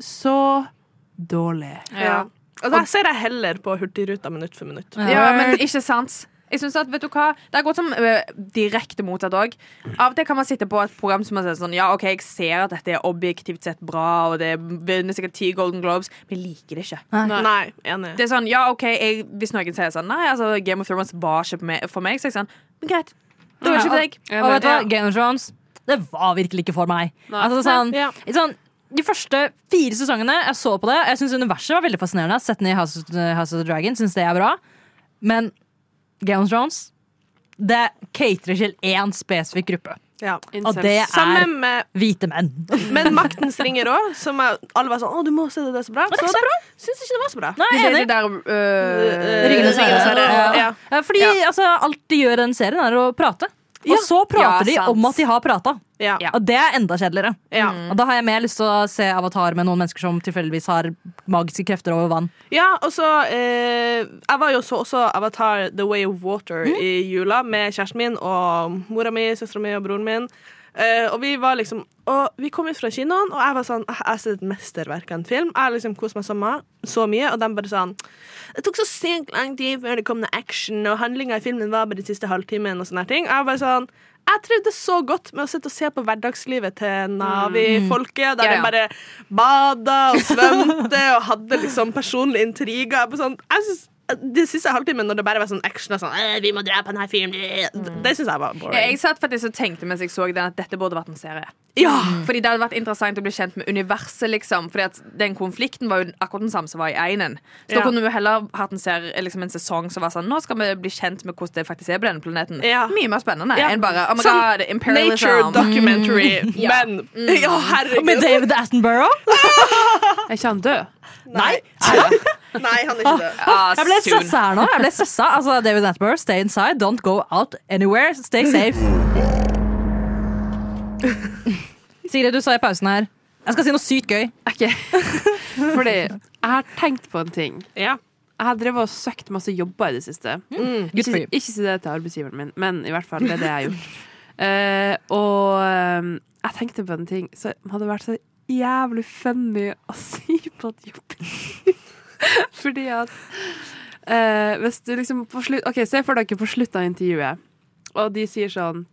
S2: så dårlig.
S7: Ja. Og der ser jeg heller på Hurtigruta minutt for minutt.
S6: Ja, men ikke sant. Jeg synes at, vet du hva Det har gått som ø, direkte motsatt òg. Av og til kan man sitte på et program som man sier sånn Ja, OK, jeg ser at dette er objektivt sett bra, og det vinner sikkert ti Golden Globes, men jeg liker det ikke.
S7: Nei, enig.
S6: Det er sånn, ja ok, jeg, Hvis noen sier sånn Nei, altså Game of Thrones var ikke for meg, for meg så er jeg sånn Men greit. Det var ikke for deg.
S5: Og vet du hva, Game of Thrones, det var virkelig ikke for meg. Altså, sånn,
S7: Ja.
S5: sånn de første fire sesongene jeg så på det. Jeg syns universet var veldig fascinerende. Jeg har Sett den i House of, House of the Dragon, syns det er bra. Men Game of Thrones det caterer til én spesifikk gruppe,
S7: Ja.
S5: og det
S7: Samme
S5: er
S7: med
S5: hvite menn.
S7: Men Maktens ringer òg, som er, alle var sånn 'Å, du må se det, det er så bra'. Så det, syns ikke det var så bra.
S5: Nei,
S2: Du
S5: jeg er
S2: ser det
S5: enig.
S2: der øh,
S5: Ringenes herre.
S7: Ja.
S5: Ja. Ja, Fordi altså, alt de gjør i den serien, er å prate. Og
S7: Ja.
S5: så
S6: Ja,
S5: prater de
S6: sant.
S5: om at de har prata.
S7: Ja.
S5: Og det er enda kjedeligere.
S7: Ja.
S5: Og da har jeg mer lyst til å se Avatar med noen mennesker som tilfeldigvis har magiske krefter over vann.
S7: Ja, og så eh, Jeg var jo så også Avatar The Way of Water
S6: Mm.
S7: i jula med kjæresten min og mora mi, søstera mi og broren min. Eh, og vi var liksom Og vi kom ut fra kinoen, og jeg var sånn Jeg har sett et mesterverk av en film. Jeg har liksom kost meg så, ma- så mye, og de bare sånn Det tok så sykt lang tid før det kom noe action, og handlinga i filmen var bare de siste halvtimen, og sånne her ting. Jeg var bare sånn jeg trivdes så godt med å sitte og se på hverdagslivet til Navi-folket,
S6: Mm. Ja,
S7: der de
S6: ja.
S7: bare bada og svømte og hadde liksom personlige intriger. Jeg bare Sånn, jeg synes, de siste halvtimen når det bare var sånn action og sånn «Øh, 'Vi må drepe han her fyren', det, det syns jeg var
S6: Ja,
S7: boring.
S6: Jeg satt faktisk og tenkte mens jeg så den at dette burde vært en serie.
S7: Ja!
S6: Ah, Fordi det hadde vært interessant å bli kjent med universet. liksom Fordi at den konflikten var jo akkurat den samme som var i Einen. Så
S7: Ja.
S6: da kunne vi heller hatt en, serie, liksom en sesong som var sånn Nå skal vi bli kjent med hvordan det faktisk er på denne planeten.
S7: Ja.
S6: Mye mer spennende
S7: Ja.
S6: enn bare Oh my
S7: Sånn
S6: god,
S7: Nature
S6: imperialism.
S7: documentary, men
S5: Mm.
S7: Ja,
S5: Med
S7: herregud.
S5: David Attenborough!
S2: Er ikke han død?
S7: Nei. Nei, han er ikke død.
S6: Ah,
S5: Jeg ble
S6: soon.
S5: søssa her nå. Jeg ble søssa. Altså, David Attenborough, stay inside, don't go out anywhere, stay safe. Sigrid, du sa i pausen her Jeg skal si noe sykt gøy.
S2: Ok. Fordi jeg har tenkt på en ting.
S7: Ja.
S2: Jeg har drevet og søkt masse jobber i det siste.
S6: Mm.
S5: Good for
S2: Ikke,
S5: you.
S2: ikke si det til arbeidsgiveren min, men i hvert fall det er det jeg har gjort. Eh, og eh, jeg tenkte på en ting som hadde vært så jævlig funny å si på en jobb. Fordi at eh, Hvis du liksom på slutt OK, se for dere på slutten av intervjuet, og de sier sånn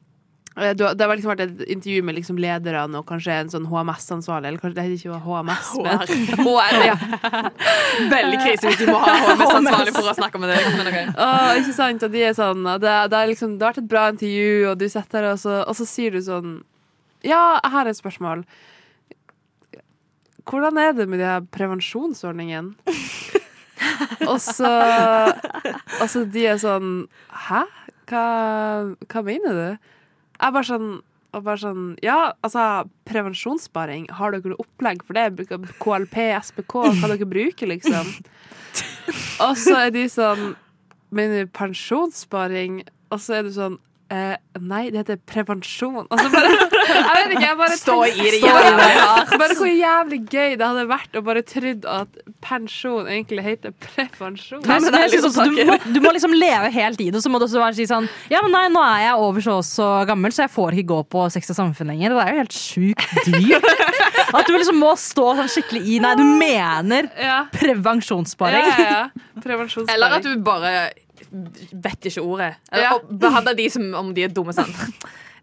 S2: eh, du har- det har liksom vært et intervju med liksom lederne og kanskje en sånn HMS-ansvarlig. Eller kanskje det heter ikke HMS, men
S6: HR, ja. Veldig krise hvis du må ha HMS ansvarlig for å snakke med deg. Men ok.
S2: Åh, ikke sant? Og de er sånn og det, det, er liksom, det har vært et bra intervju, og du sitter der, og så, og så sier du sånn Ja, jeg har et spørsmål. Hvordan er det med de her prevensjonsordningene? og så Og så de er sånn Hæ? Hva, hva mener du? Jeg bare sånn og bare sånn, ja, altså Prevensjonssparing, har dere noe opplegg for det? Bruker KLP, SPK, hva dere bruker, liksom? Og så er de sånn Mener du pensjonssparing? Og så er du sånn eh, Nei, det heter prevensjon. Altså bare, jeg vet ikke, jeg bare
S6: Stå i det
S2: Stå
S6: jævla
S2: bare, bare hvor jævlig gøy det hadde vært å bare trodd at pensjon egentlig heter prevensjon.
S5: Nei, men jeg synes også, du, må, du må liksom leve helt i det, så må du også bare si sånn Ja, men nei, nå er jeg over så og så gammel, så jeg får ikke gå på Sex og samfunn lenger. Det er jo helt sjukt dyrt. At du liksom må stå sånn skikkelig i Nei, du mener
S2: Ja, ja,
S5: prevensjonssparing.
S2: ja, ja. Prevensjonssparing.
S6: Eller at du bare vet ikke ordet. Eller
S2: Ja.
S6: og behandler de som om de er dumme. Sånn.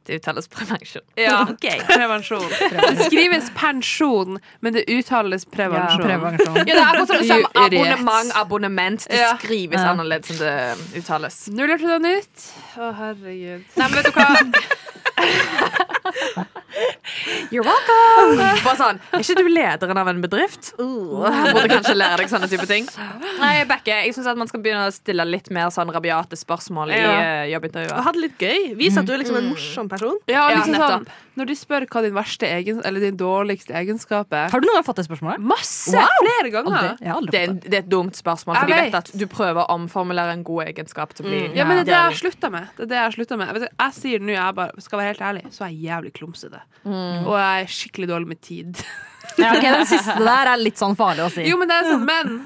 S6: Det uttales prevensjon.
S2: Ja.
S6: Ok.
S2: Prevensjon. Det skrives pensjon, men det uttales prevensjon.
S5: Prevensjon.
S6: Ja, det er akkurat sånn det samme
S2: Urett.
S6: abonnement, abonnement. Det
S2: Ja.
S6: skrives
S5: Ja.
S6: annerledes enn det uttales.
S2: Nå lærte du noe nytt. Å, herregud.
S6: Nei, men vet du hva? You're welcome! Bare sånn, Er ikke du lederen av en bedrift? Uh, burde kanskje lære deg sånne type ting. Nei, jeg backer. Jeg syns man skal begynne å stille litt mer sånn rabiate spørsmål i
S7: Ja.
S6: eh,
S7: Og
S6: jobbintervjuer.
S7: hadde det litt gøy. Vis at du er liksom en morsom person.
S2: Ja,
S6: Ja,
S2: liksom sånn,
S6: nettopp.
S2: når de spør hva din verste egen, eller din dårligste egenskap er
S5: Har du noen gang fått det spørsmålet?
S2: Masse!
S5: Wow!
S2: Flere
S5: Aldri.
S2: ganger.
S5: Jeg har aldri
S6: Det er,
S5: fått
S6: en-
S5: det.
S6: det er et dumt spørsmål,
S2: Jeg
S6: for de vet Mm.
S2: vet.
S6: at du prøver å omformulere en god egenskap til å bli
S2: Ja, men det er det jeg
S6: Ja.
S2: har slutta med. Det er det jeg har sluttet med. Jeg, vet, jeg sier nå, jeg bare, skal være helt ærlig, så er jeg jævlig klumsete. Og jeg er skikkelig dårlig med tid.
S5: Ja, ok, den siste der er litt sånn farlig å si.
S2: Jo, men det er sånn, men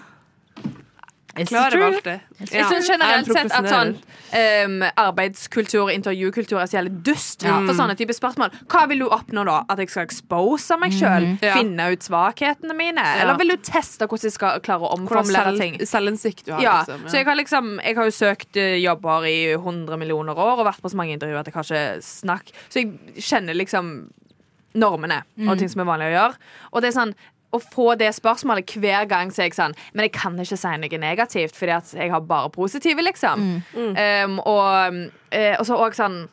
S5: It's
S2: klarer
S5: true.
S2: meg alltid.
S6: Jeg synes generelt
S2: Jeg er en
S6: sett at sånn
S2: profesjonell.
S6: ehm, arbeidskultur og intervjukultur er så jævlig dust for sånne type spørsmål. Hva vil du oppnå da? At jeg skal expose meg sjøl?
S2: Ja.
S6: Finne ut svakhetene mine? Eller vil du teste hvordan jeg skal klare å
S2: Hvordan
S6: omformulere ting?
S2: selv, selvinnsikt du har,
S6: Ja,
S2: liksom.
S6: så jeg har liksom Jeg har jo søkt eh, jobber i 100 millioner år og vært på så mange intervjuer at jeg har ikke snakk Så jeg kjenner liksom normene og ting som er vanlig å gjøre. Og det er sånn å få det spørsmålet hver gang så er jeg sånn Men jeg kan ikke si noe negativt, fordi at jeg har bare positive, liksom. Um, og eh, og så òg sånn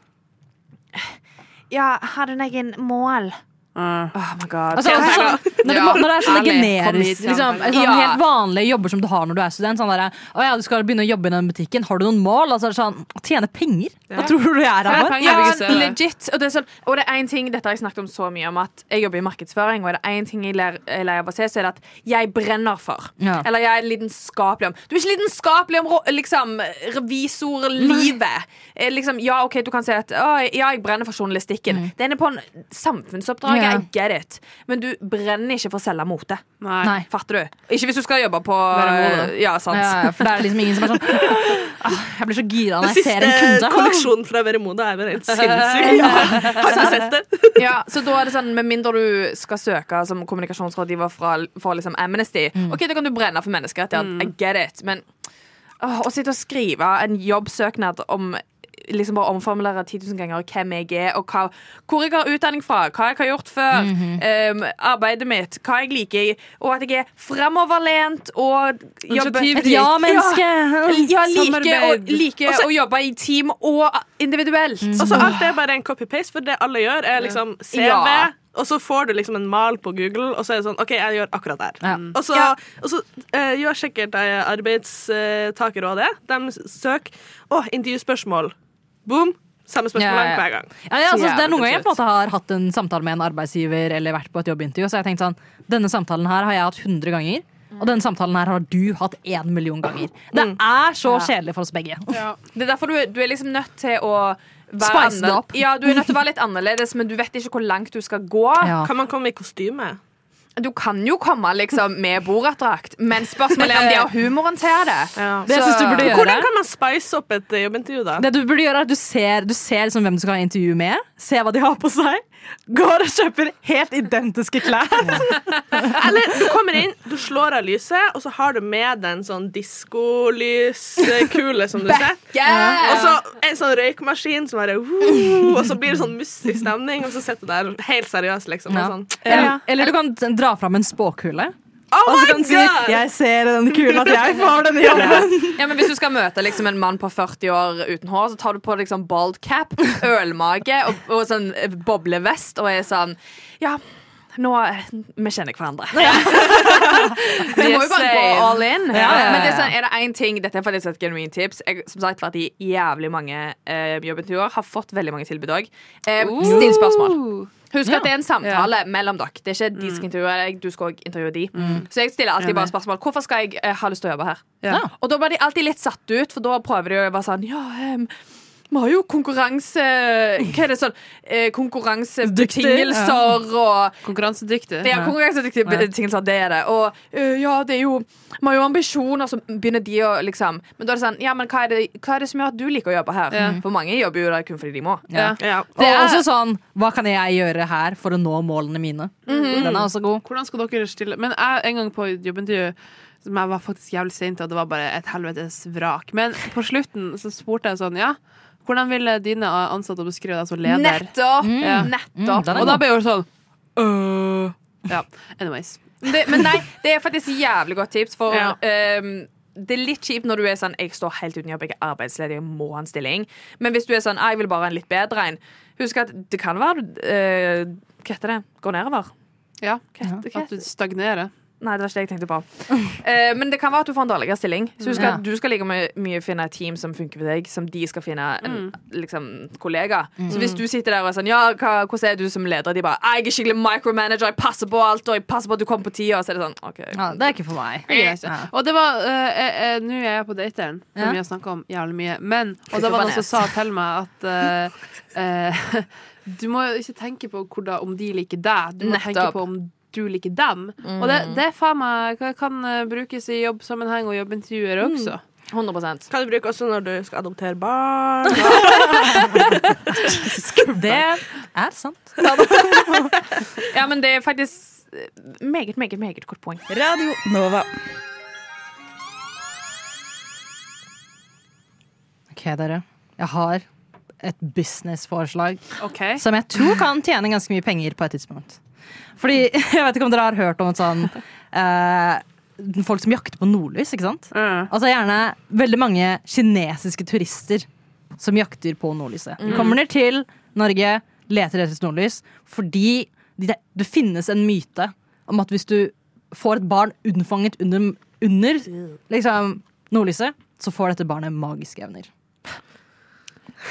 S6: Ja, har du noen mål? Oh my god.
S5: Altså,
S6: Tjena,
S5: altså,
S6: Tyler.
S5: sånn, når, det, når
S2: Ja,
S5: det er sånne
S2: ærlig, kom hit,
S5: generisk
S2: Jan.
S5: liksom, sånn,
S6: Ja.
S5: Helt vanlige jobber som du har når du er student. Sånn der, å ja, du skal begynne å jobbe i den butikken. Har du noen mål? Altså, er det sånn, å tjene penger? Hva tror du jeg er her for?
S2: penger, jeg vil ikke se
S6: Ja,
S2: det.
S6: legit. Og det er sånn, og det er en ting, dette har jeg snakket om så mye om, at jeg jobber i markedsføring, og er det en ting jeg ler- jeg er lei av å se, så er det at jeg brenner for.
S5: Ja.
S6: Eller jeg er lidenskapelig om. Du er ikke lidenskapelig om rå- liksom, revisorlivet. Eh, Liksom, ja, ok, du kan si at å, ja, jeg brenner for journalistikken. Det er inne på en samfunnsoppdrag,
S5: Mm. Ja.
S6: I get it. Men du brenner ikke for å selge mote.
S2: Nei.
S5: Nei.
S6: Fatter du? Ikke hvis du skal jobbe på
S2: Være mode.
S6: Ja, sant.
S5: Ja, ja, for det er liksom ingen som er sånn «Åh, Jeg blir så gira når jeg ser en
S7: Siste
S5: kunde.
S7: kolleksjonen fra Vere Moda er bare helt sinnssyk. Har du sett det?
S6: Ja, så da er det sånn, Med mindre du skal søke som kommunikasjonsrådgiver fra, for liksom Amnesty,
S7: Mm.
S6: Ok, da kan du brenne for menneskerettigheter. I get it. Men åh, å sitte og skrive en jobbsøknad om liksom bare omformulere 10 000 ganger hvem jeg er, og hva, hvor jeg har utdanning fra, hva jeg har gjort før,
S7: Mhm.
S6: em, arbeidet mitt, hva jeg liker, og at jeg er framoverlent og jobber
S2: Initiativrik.
S5: Et ja-menneske.
S6: Ja, liker å,
S2: Samarbeid.
S6: liker
S7: Og så-
S6: å jobbe i team og individuelt.
S5: Mm.
S7: Og så alt er bare en copy-paste, for det alle gjør, er liksom CV.
S6: Ja.
S7: Og så får du liksom en mal på Google, og så er det sånn OK, jeg gjør akkurat der.
S5: Ja.
S7: Og så, og så eh, gjør sikkert eh, Arbeidstakerrådet. De søker Å, intervjuspørsmål. Boom. Samme spørsmål
S5: Ja, ja.
S7: hver gang.
S5: Ja, ja, altså,
S6: Så
S5: det er noen
S6: jævlig
S5: ganger jeg på en måte har hatt en samtale med en arbeidsgiver eller vært på et jobbintervju, så har jeg tenkt sånn Denne samtalen her har jeg hatt 100 ganger. Og denne samtalen her har du hatt én million ganger. Det er så kjedelig for oss begge.
S6: Det er derfor du, du er liksom nødt til å være
S5: Spice det
S6: anner-
S5: opp.
S6: Ja, du er nødt til å være litt annerledes, men du vet ikke hvor langt du skal gå.
S5: Ja.
S7: Kan man komme i kostyme?
S6: Du kan jo komme liksom med boratdrakt, men spørsmålet er om de har humoren til det.
S5: Det jeg
S6: Så-
S5: synes du burde gjøre
S7: Hvordan kan man spice opp et eh, jobbintervju, da?
S5: Det du burde gjøre er at du ser, du ser liksom hvem du skal ha intervju med, ser hva de har på seg, går og kjøper helt identiske klær.
S7: Eller du kommer inn, du slår av lyset, og så har du med deg en sånn diskolyskule som du setter. Og så en sånn røykmaskin som bare «Woo», Og så blir det sånn mystisk stemning, og så sitter du der helt seriøst, liksom.
S5: Ja.
S7: Og sånn.
S5: Eller, eller du kan dra fram en spåkule.
S7: Oh
S5: Og så
S7: my
S5: kan du si
S7: god!
S5: 'Jeg ser i denne kula at jeg får denne jobben'.
S6: Ja, men Hvis du skal møte liksom en mann på 40 år uten hår, så tar du på deg liksom bald cap, ølmage og, og sånn eh, boblevest og er sånn Ja, nå eh, Vi kjenner hverandre. Vi må jo bare gå
S2: Same.
S6: all in.
S5: Ja, ja, ja.
S6: Men det er, sånn, er det én ting Dette er faktisk et genuint tips. Jeg har som sagt vært i jævlig mange eh, jobbintervjuer. Har fått veldig mange tilbud òg. Eh, still spørsmål. Husk at det er en samtale mellom dere. Det er ikke de skal intervjue
S5: Mm.
S6: deg, du skal også intervjue de. Så jeg stiller alltid bare spørsmål. Hvorfor skal jeg eh, ha lyst til å jobbe her?
S2: Ja.
S6: Og da blir de alltid litt satt ut, for da prøver de å være sånn Ja, em, vi har jo konkurranse... Hva er det sånn? Eh, konkurransebetingelser og
S2: Konkurransedyktig.
S6: ja, konkurransedyktige betingelser, det er det. Og øh, ja, det er jo Vi har jo ambisjoner, så begynner de å liksom Men da er det sånn Ja, men hva er det, hva er det som gjør at du liker å jobbe her? For mange jobber jo der kun fordi de må.
S2: Ja.
S7: Ja.
S5: Det er også sånn 'Hva kan jeg gjøre her for å nå målene mine?' Den er også god.
S2: Hvordan skal dere stille Men jeg en gang på jobbintervju som jeg var faktisk jævlig sent, og det var bare et helvetes vrak. Men på slutten så spurte jeg sånn, ja, hvordan ville dine ansatte beskrive deg som leder?
S6: Nettopp!
S2: Ja.
S6: Nettopp.
S5: Mm, den er
S2: Og
S5: god.
S2: da ble jeg jo sånn, øh. Ja, anyways.
S6: det, men nei, det er faktisk jævlig godt tips, for
S2: Ja.
S6: ehm, det er litt kjipt når du er sånn Jeg står helt uten jobb, jeg er arbeidsledig, jeg må ha en stilling. Men hvis du er sånn «Ah, Jeg vil bare ha en litt bedre en. Husk at det kan være du eh, Hva heter det? Går nedover.
S2: Ja,
S6: Hva heter- hva
S2: at du stagnerer.
S6: Nei, det var ikke det jeg tenkte på. Eh, men det kan være at du får en dårligere stilling. Så husk
S5: Ja.
S6: at du skal like mye, mye finne et team som funker for deg, som de skal finne en
S5: Mm.
S6: liksom, kollega. Så hvis du sitter der og er sånn Ja, hva, hvordan er du som leder? Og de bare «Ah, Jeg er skikkelig micromanager, jeg passer på alt, og jeg passer på at du kommer på tida. Så er det sånn OK.
S5: Ja, det er ikke for meg.
S2: Det greier jeg ikke.
S5: Ja.
S2: Og det var eh, eh, Nå er jeg på dateren, som
S5: Ja.
S2: vi har snakka om jævlig mye. Men, og da var det noen som sa til meg at eh, eh, Du må jo ikke tenke på hvordan, om de liker deg, du må tenke
S6: Nettopp.
S2: på om du liker dem. Og det,
S5: Mm.
S2: det er faen meg kan- kan eh, brukes i jobbsammenheng og jobbintervjuer
S5: Mm.
S2: også.
S6: 100
S7: Kan du bruke også når du skal adoptere barn?
S5: Det er sant.
S6: Ja, men det er faktisk eh, meget, meget, meget godt poeng.
S9: Radio Nova.
S5: Ok, dere. Jeg har et businessforslag.
S2: OK?
S5: som jeg tror kan tjene ganske mye penger på et tidspunkt. Fordi, jeg vet ikke om dere har hørt om et sånn eh, Folk som jakter på nordlys, ikke sant? Altså gjerne veldig mange kinesiske turister som jakter på nordlyset. Kommer ned til Norge, leter etter nordlys fordi det, det finnes en myte om at hvis du får et barn unnfanget under, under liksom, nordlyset, så får dette barnet magiske evner.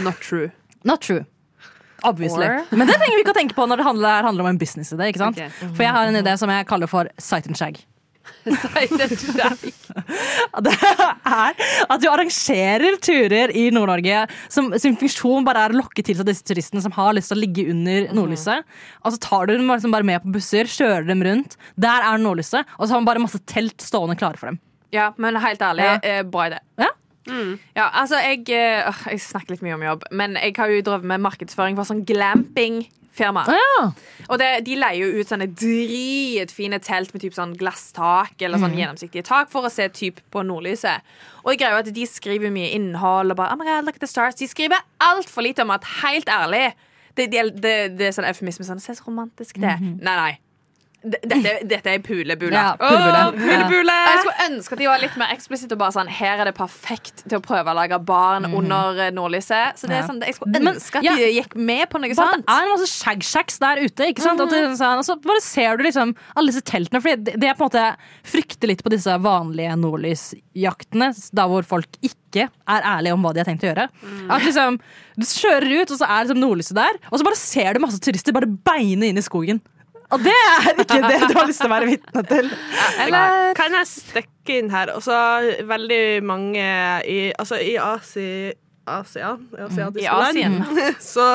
S2: Not true.
S5: Not true. Obviously.
S4: Or-
S5: Men det trenger vi ikke å tenke på når det handler, handler om en businessidé. ikke sant?
S2: Ok.
S5: For jeg har en idé som jeg kaller for sight and shag.
S2: Nei, det tror jeg ikke.
S5: Det er at du arrangerer turer i Nord-Norge som sin funksjon bare er å lokke til seg disse turistene som har lyst til å ligge under nordlyset. Og så tar du dem liksom bare med på busser, kjører dem rundt. Der er nordlyset, og så har man bare masse telt stående klare for dem.
S6: Ja, men helt ærlig,
S5: Ja.
S6: eh, bra idé.
S5: Ja.
S6: Ja, altså, jeg, eh, åh, jeg snakker litt mye om jobb, men jeg har jo drevet med markedsføring for sånn glamping-firma. Og det, de leier jo ut sånne dritfine telt med typ sånn glasstak eller sånn gjennomsiktige tak for å se typ på nordlyset. Og jeg greier jo at de skriver mye innhold og bare «Ah, Amaral, look at the stars. De skriver altfor lite om at, helt ærlig Det, det, det, det er sånn eufemisme sånn Se så romantisk det er. Nei, nei. D- Dette, dette er pulebula.
S5: Ja, pulebule.
S6: Åh, pulebule! Jeg skulle ønske at de var litt mer eksplisitte og bare sånn Her er det perfekt til å prøve å lage barn under eh, nordlyset. Så det er
S5: Ja.
S6: sånn, Jeg skulle
S5: Men-
S6: ønske at
S5: ja.
S6: de gikk med på noe
S5: Bare at
S6: sånt.
S5: det er en masse shag-shags der ute. ikke sant? At det, sånn, og så bare ser du liksom alle disse teltene. For det, det er på en måte frykter litt på disse vanlige nordlysjaktene, da hvor folk ikke er ærlige om hva de har tenkt å gjøre. At liksom, Du kjører ut, og så er liksom nordlyset der, og så bare ser du masse turister bare beine inn i skogen. Og det er ikke det du har lyst til å være vitne til.
S7: Eller kan jeg stikke inn her? Også veldig mange i, altså i Asi, Asia, i asiatiske
S6: I Asien.
S7: land, så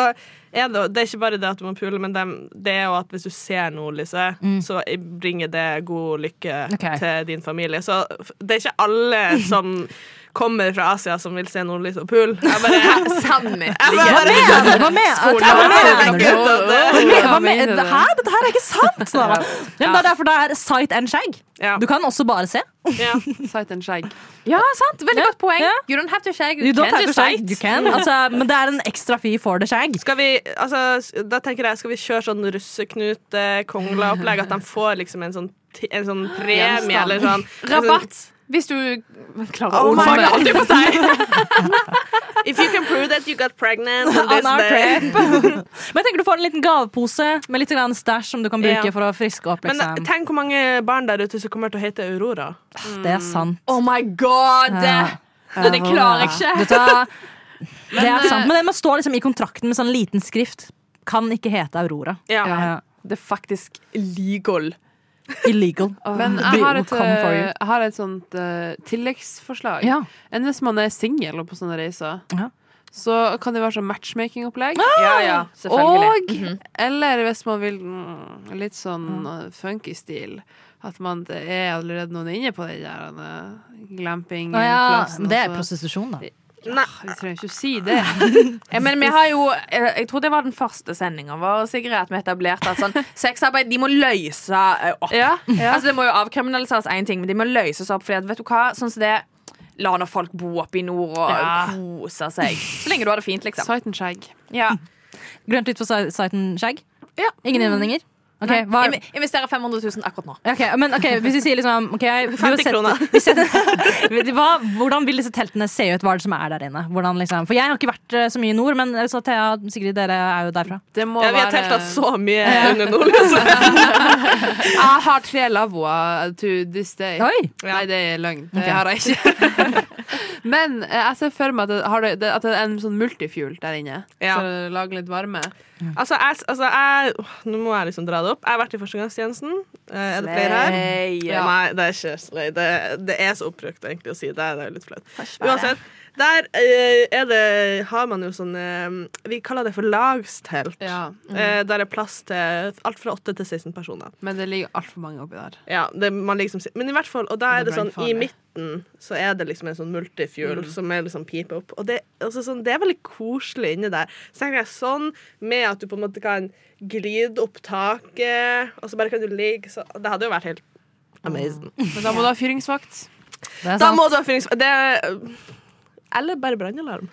S7: er det, det er ikke bare det at du må pule, men dem, det er jo at hvis du ser nordlyset, så bringer det god lykke
S5: Ok.
S7: til din familie. Så f- det er ikke alle som kommer fra Asia som vil se nordlys og pule. Jeg bare,
S6: Samtlige.
S5: Hva mener du? Hva mener du? sånn, Hva mener du?
S7: ut av det.
S5: Hva mener du? Hæ? Dette her er ikke sant! Sara. Ja, men det er derfor det er sight and shag.
S7: Ja.
S5: Du kan også bare se.
S7: Ja.
S2: Sight and shag.
S6: Ja, sant. Veldig godt poeng.
S5: Ja.
S6: You don't have to shag. You,
S5: You don't
S6: can
S5: have to
S6: just
S5: shag.
S6: fight.
S5: You can. Altså, men det er en ekstra fee for the shag.
S7: Skal vi, altså, s- da tenker jeg, skal vi kjøre sånn russeknut-kongla-opplegg? At de får liksom en sånn, ti- en sånn premie eller sånn
S6: Rabatt. Hvis du klarer
S7: Oh
S6: å
S7: my
S6: ordne
S7: God.
S6: det.
S7: If you can prove that you got pregnant on this
S5: On our
S7: day.
S5: trip. men jeg tenker du får en liten gavepose med litt grann stæsj som du kan bruke
S7: Ja.
S5: for å friske opp.
S7: Men eh,
S5: Liksom.
S7: tenk hvor mange barn der ute som kommer til å hete Aurora.
S5: det er sant.
S6: Oh my god!
S5: Ja.
S6: Men det klarer jeg ikke.
S5: Vet du hva? det er sant. Men det må stå liksom i kontrakten med sånn liten skrift. Kan ikke hete Aurora.
S7: Ja.
S5: Ja.
S6: Det er faktisk legal.
S5: Illegal.
S2: Men
S5: We
S2: jeg har
S5: will
S2: et,
S5: come for you.
S2: eh, jeg har et sånt eh, tilleggsforslag.
S5: Ja.
S2: Enn hvis man er singel og på sånne reiser,
S5: Ja.
S2: så kan det være sånn matchmaking-opplegg.
S6: Ja, ja,
S2: Og
S6: selvfølgelig. Mhm.
S2: eller hvis man vil mm, litt sånn eh, funky stil. At man det er allerede noen inne på den der eh,
S5: Å ja,
S2: glamping-plassen.
S5: men det er
S2: og så-
S5: prostitusjon, da.
S2: Nei, vi trenger ikke å si det.
S6: Ja, men vi har jo, eh, jeg tror det var den første sendinga vår Sigrid, at vi etablerte at sånn, sexarbeid de må løse eh, opp. Altså, det må jo avkriminaliseres én ting, men de må løses opp. Fordi at, vet du hva, sånn som det La nå folk bo oppe i nord og
S2: Ja.
S6: kose seg. Så lenge du har det fint, liksom.
S2: Sight and shag.
S6: Ja.
S5: Grønt litt for si- sight and shag?
S6: Ja.
S5: Ingen innvendinger? Ok, hva er-
S6: Inve- Investere 500 000 akkurat nå.
S5: Ok, men ok, hvis vi sier liksom ok, vi har
S7: 50
S5: sett-
S7: kroner.
S5: vi setter- hva, Hvordan vil disse teltene se ut? Hva er det som er der inne? Hvordan, liksom, for jeg har ikke vært eh, så mye i nord, men eh, så Thea og Sigrid, dere er jo derfra.
S2: Det må
S7: Ja, vi har
S2: være
S7: telta så mye under liksom. nordlyset.
S2: Jeg har tre lavvoer to this day.
S5: Oi!
S2: Nei, det er løgn. Det
S5: Ok.
S2: har jeg ikke. Men eh, jeg ser for meg at det, har det, det- at det er en sånn multifuel der inne.
S7: Ja.
S2: Så lager litt varme.
S7: Altså, jeg, altså jeg, åh, nå må jeg liksom dra det opp. Jeg har vært i førstegangstjenesten. Eh, Er det flere her?
S6: Ja.
S7: Nei, det er ikke slay. Det, det er så oppbrukt egentlig å si det. Det er jo litt flaut. Uansett. Der eh, er det, har man jo sånn eh, Vi kaller det for lagstelt.
S2: Ja. Mm.
S7: Eh, Der er plass til alt fra 8 til 16 personer.
S2: Men det ligger altfor mange oppi der.
S7: Ja, det, man liksom, sit- men i hvert fall, og da er det
S2: Det Mm. er
S7: sånn, i
S2: brannfarlig.
S7: midten så er det liksom en sånn multifuel som er liksom pipe opp, og det, altså sånn, det er veldig koselig inne der. Så tenker jeg sånn, med at du på en måte kan glide opp taket, og så bare kan du ligge, så det hadde jo vært helt
S2: Mm.
S7: amazing.
S2: Men da må du ha fyringsvakt.
S5: Det er
S7: Da
S5: sant.
S7: må du ha fyrings... Det er, Altså, eh, eller bare brannalarm.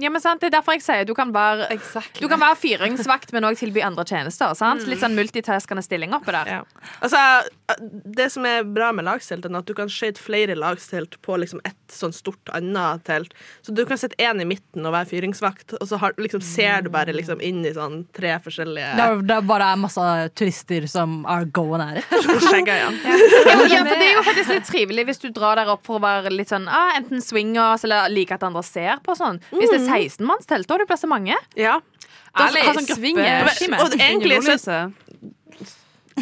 S6: Ja, men sant, Det er derfor jeg sier du kan være, du kan Mm. være fyringsvakt, men òg tilby andre tjenester. sant? Litt sånn multitaskende stilling oppi der.
S7: Altså, det som er bra med lagteltene, er at du kan skøyte flere lagstelt på liksom ett sånn stort annet telt. Så du kan sette én i midten og være fyringsvakt, og så har, liksom, ser du bare liksom, inn i sånn tre forskjellige
S5: Det er, det er bare masse turister som are going at it.
S7: skjegger igjen.
S6: Jo, ja, for Det er jo faktisk litt trivelig hvis du drar der opp for å være litt sånn ah, enten swingers eller like at andre ser på. sånn Hvis det er 16-mannstelt, da har du plass til mange.
S7: Ja.
S6: Da
S4: Ærlig,
S6: har du sånn
S4: swing
S6: gruppe-
S4: er
S7: Men-
S4: Skimmer.
S7: Og egentlig så
S2: Rolyse.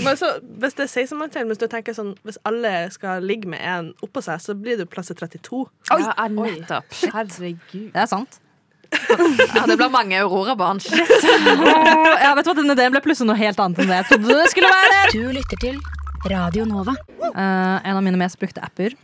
S7: Men så, hvis det er 16 mann til, mens du tenker sånn Hvis alle skal ligge med en oppå seg, så blir du plass i 32.
S6: Oi, ja, ah, nettopp.
S2: Herregud.
S5: Det er sant.
S6: Ja, det blir mange Aurora-barn.
S5: Og, ja, vet du hva, Denne ideen ble plutselig noe helt annet enn det jeg trodde det skulle være.
S1: Du lytter til Radio Nova.
S5: Eh, en av mine mest brukte apper,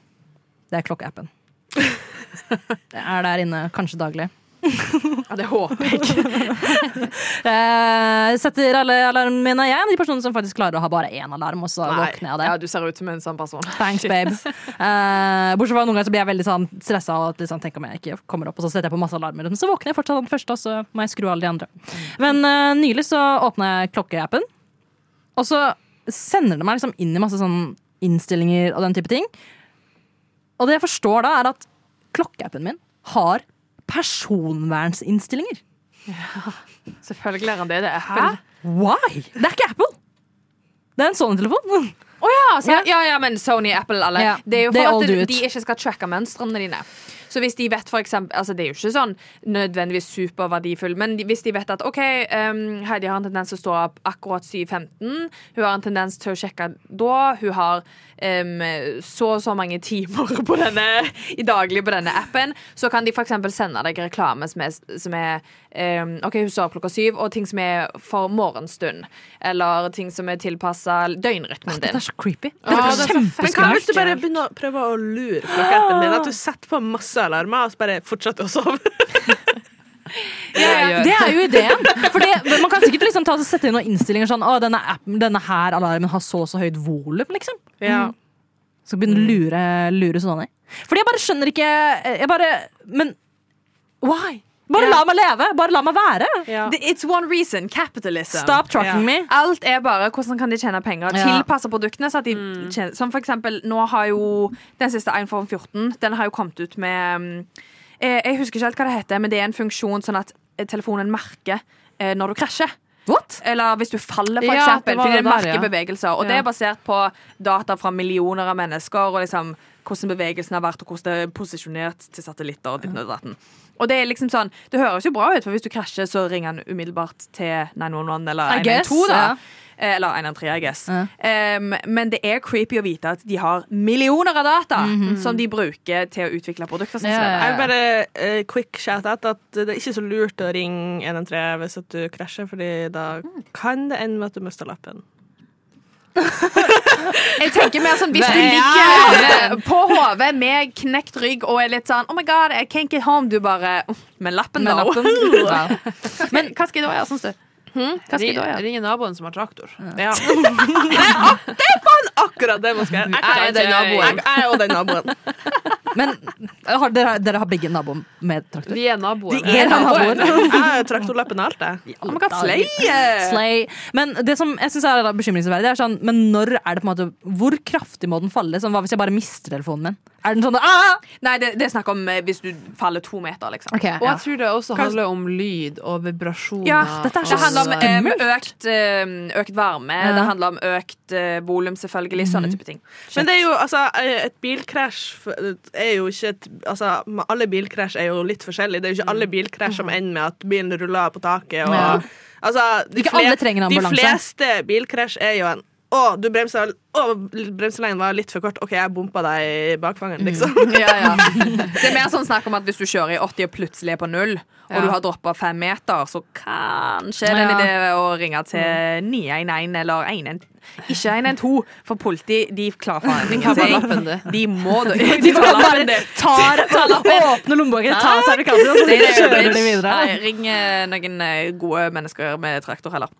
S5: det er klokkeappen. Det er der inne kanskje daglig.
S6: Ja, det håper jeg.
S5: Eh, setter alle alarmene mine. Jeg er en av de personene som faktisk klarer å ha bare én alarm, og så
S6: Nei.
S5: våkner jeg av det.
S6: Ja, du ser ut som en sånn person.
S5: Thanks, babe. Eh, bortsett fra noen ganger så blir jeg veldig sånn, stressa og at liksom, tenker om jeg ikke kommer opp, og så setter jeg på masse alarmer. Men så våkner jeg fortsatt av den første, og så må jeg skru av alle de andre. Men eh, nylig så åpna jeg klokkeappen, og så sender det meg liksom inn i masse sånn innstillinger og den type ting. Og det jeg forstår da, er at klokkeappen min har personvernsinnstillinger.
S6: Selvfølgelig er han det. Det er Apple.
S5: Why? Det er ikke Apple! Det er en sånn telefon.
S6: Å ja, så, ja, ja, men Sony, Apple, alle.
S5: Ja,
S6: Det er jo
S5: det er all
S6: for at
S5: do
S6: de,
S5: it.
S6: de ikke skal tracke mønstrene dine. Så hvis de vet for eksempel, altså Det er jo ikke sånn nødvendigvis superverdifull, men de- hvis de vet at OK, um, Heidi har en tendens til å stå opp akkurat 7.15, hun har en tendens til å sjekke da, hun har um, så og så mange timer på denne, i daglig på denne appen, så kan de for eksempel sende deg reklame som er, som er um, OK, hun står opp klokka syv, og ting som er for morgenstund, eller ting som er tilpassa døgnrytmen
S5: Dette
S6: din.
S5: er så creepy.
S6: Ja,
S5: Dette
S6: det
S5: er
S6: er så-
S7: Men hva
S5: kjempeskummelt.
S7: hvis du bare begynner å prøve å lure plakaten din? At du setter på masse alarmer, og så bare fortsetter å sove?
S6: Ja, ja.
S5: Det er jo ideen. For det, men man kan sikkert liksom ta og sette inn noen innstillinger sånn Å, denne, appen, denne her alarmen har så og så høyt volum, liksom.
S7: Ja.
S5: Så begynne å lure, lure sånne. Fordi jeg bare skjønner ikke Jeg bare Men why? Bare la meg leve! Bare la meg være!
S7: Ja.
S6: The- It's one reason. Capitalism.
S5: Stop tracking
S7: Ja.
S5: me.
S6: Alt er bare hvordan kan de tjene penger.
S5: Ja. Mm.
S6: Tilpasse produktene. Så at de tjener, som for eksempel, nå har jo den siste iPhone 14 Den har jo kommet ut med mm, eh, Jeg husker ikke helt hva det heter, men det er en funksjon sånn at eh, telefonen merker eh, når du krasjer.
S5: What?
S6: Eller hvis du faller, for
S2: Ja, det
S6: eksempel.
S2: var
S6: Fordi
S2: det
S6: det
S2: der,
S6: merker
S2: ja.
S6: bevegelser. Og det
S2: Ja.
S6: er basert på data fra millioner av mennesker, og liksom hvordan bevegelsen har vært, og hvordan det er posisjonert til satellitter. Og, ditten og, datten. og det er liksom sånn Det høres jo bra ut, for hvis du krasjer, så ringer han umiddelbart til 911 eller
S5: I guess,
S6: 112, da.
S5: ja.
S6: Eh, Eller 113, I guess.
S5: Ja.
S6: Um, men det er creepy å vite at de har millioner av data som de bruker til å utvikle produkter. Sånn som det
S5: Ja,
S6: er.
S7: Jeg vil bare eh, quick shout out at det er ikke så lurt å ringe 113 hvis at du krasjer, Fordi da kan det ende med at du mister lappen.
S6: Jeg tenker mer sånn Hvis du ligger på hodet med knekt rygg og er litt sånn Oh my god, I can't get home. Du bare oh, Med lappen,
S5: Med
S6: da.
S5: lappen.
S6: Men hva skal jeg da gjøre, syns du? Hva skal jeg
S2: Ring,
S6: da gjøre?
S2: ring naboen som har traktor.
S7: Ja. det er ak- det er faen akkurat det man skal gjøre.
S2: Jeg er den naboen.
S7: Jeg, jeg er også den naboen.
S5: Men har, dere, dere har begge naboer med traktor?
S2: Vi er naboer.
S5: er naboer.
S7: Jeg har traktorlappen og alt, jeg.
S6: Oh my god, slay!
S5: Slay. Men det som jeg synes er bekymringsverdig, er sånn Men når er det på en måte Hvor kraftig må den falle? Sånn, hva hvis jeg bare mister telefonen min? Er den sånn ah!
S6: Nei, det, det er snakk om eh, hvis du faller to meter, liksom.
S5: Ok,
S2: Og
S5: ja.
S2: jeg tror det også handler om lyd og vibrasjoner.
S6: Ja,
S5: dette er så
S6: Det handler om
S2: og-
S6: eh, økt, eh, økt varme,
S5: Ja.
S6: det handler om økt eh, volum, selvfølgelig. Sånne type ting.
S7: Men det er jo, altså, et bilkrasj er jo ikke et, altså, Alle bilkrasj er jo litt forskjellige. Det er jo ikke alle bilkrasj som ender med at bilen ruller på taket. Og,
S5: Ja.
S7: altså, de
S5: Ikke alle trenger ambulanse.
S7: De fleste bilkrasj er jo en å, du bremsa Å, bremselengen var litt for kort. OK, jeg bompa deg i bakfangeren, liksom.
S5: Mm.
S6: Ja, ja. Det er mer sånn snakk om at hvis du kjører i 80 og plutselig er på null, og du har droppa fem meter, så kanskje det er en
S5: Ja.
S6: idé å ringe til 911 eller 112. Ikke 112, for politi de klarer faen
S2: bare
S6: ingenting.
S2: lappen, du.
S6: De må det. De tar lappen, det.
S5: tar, tar åpner lommeboka, tar sertifikatet og
S6: Det
S5: så
S6: er
S5: kjører de
S6: bitch.
S5: videre.
S6: Nei, ring eh, noen eh, gode mennesker med traktor heller.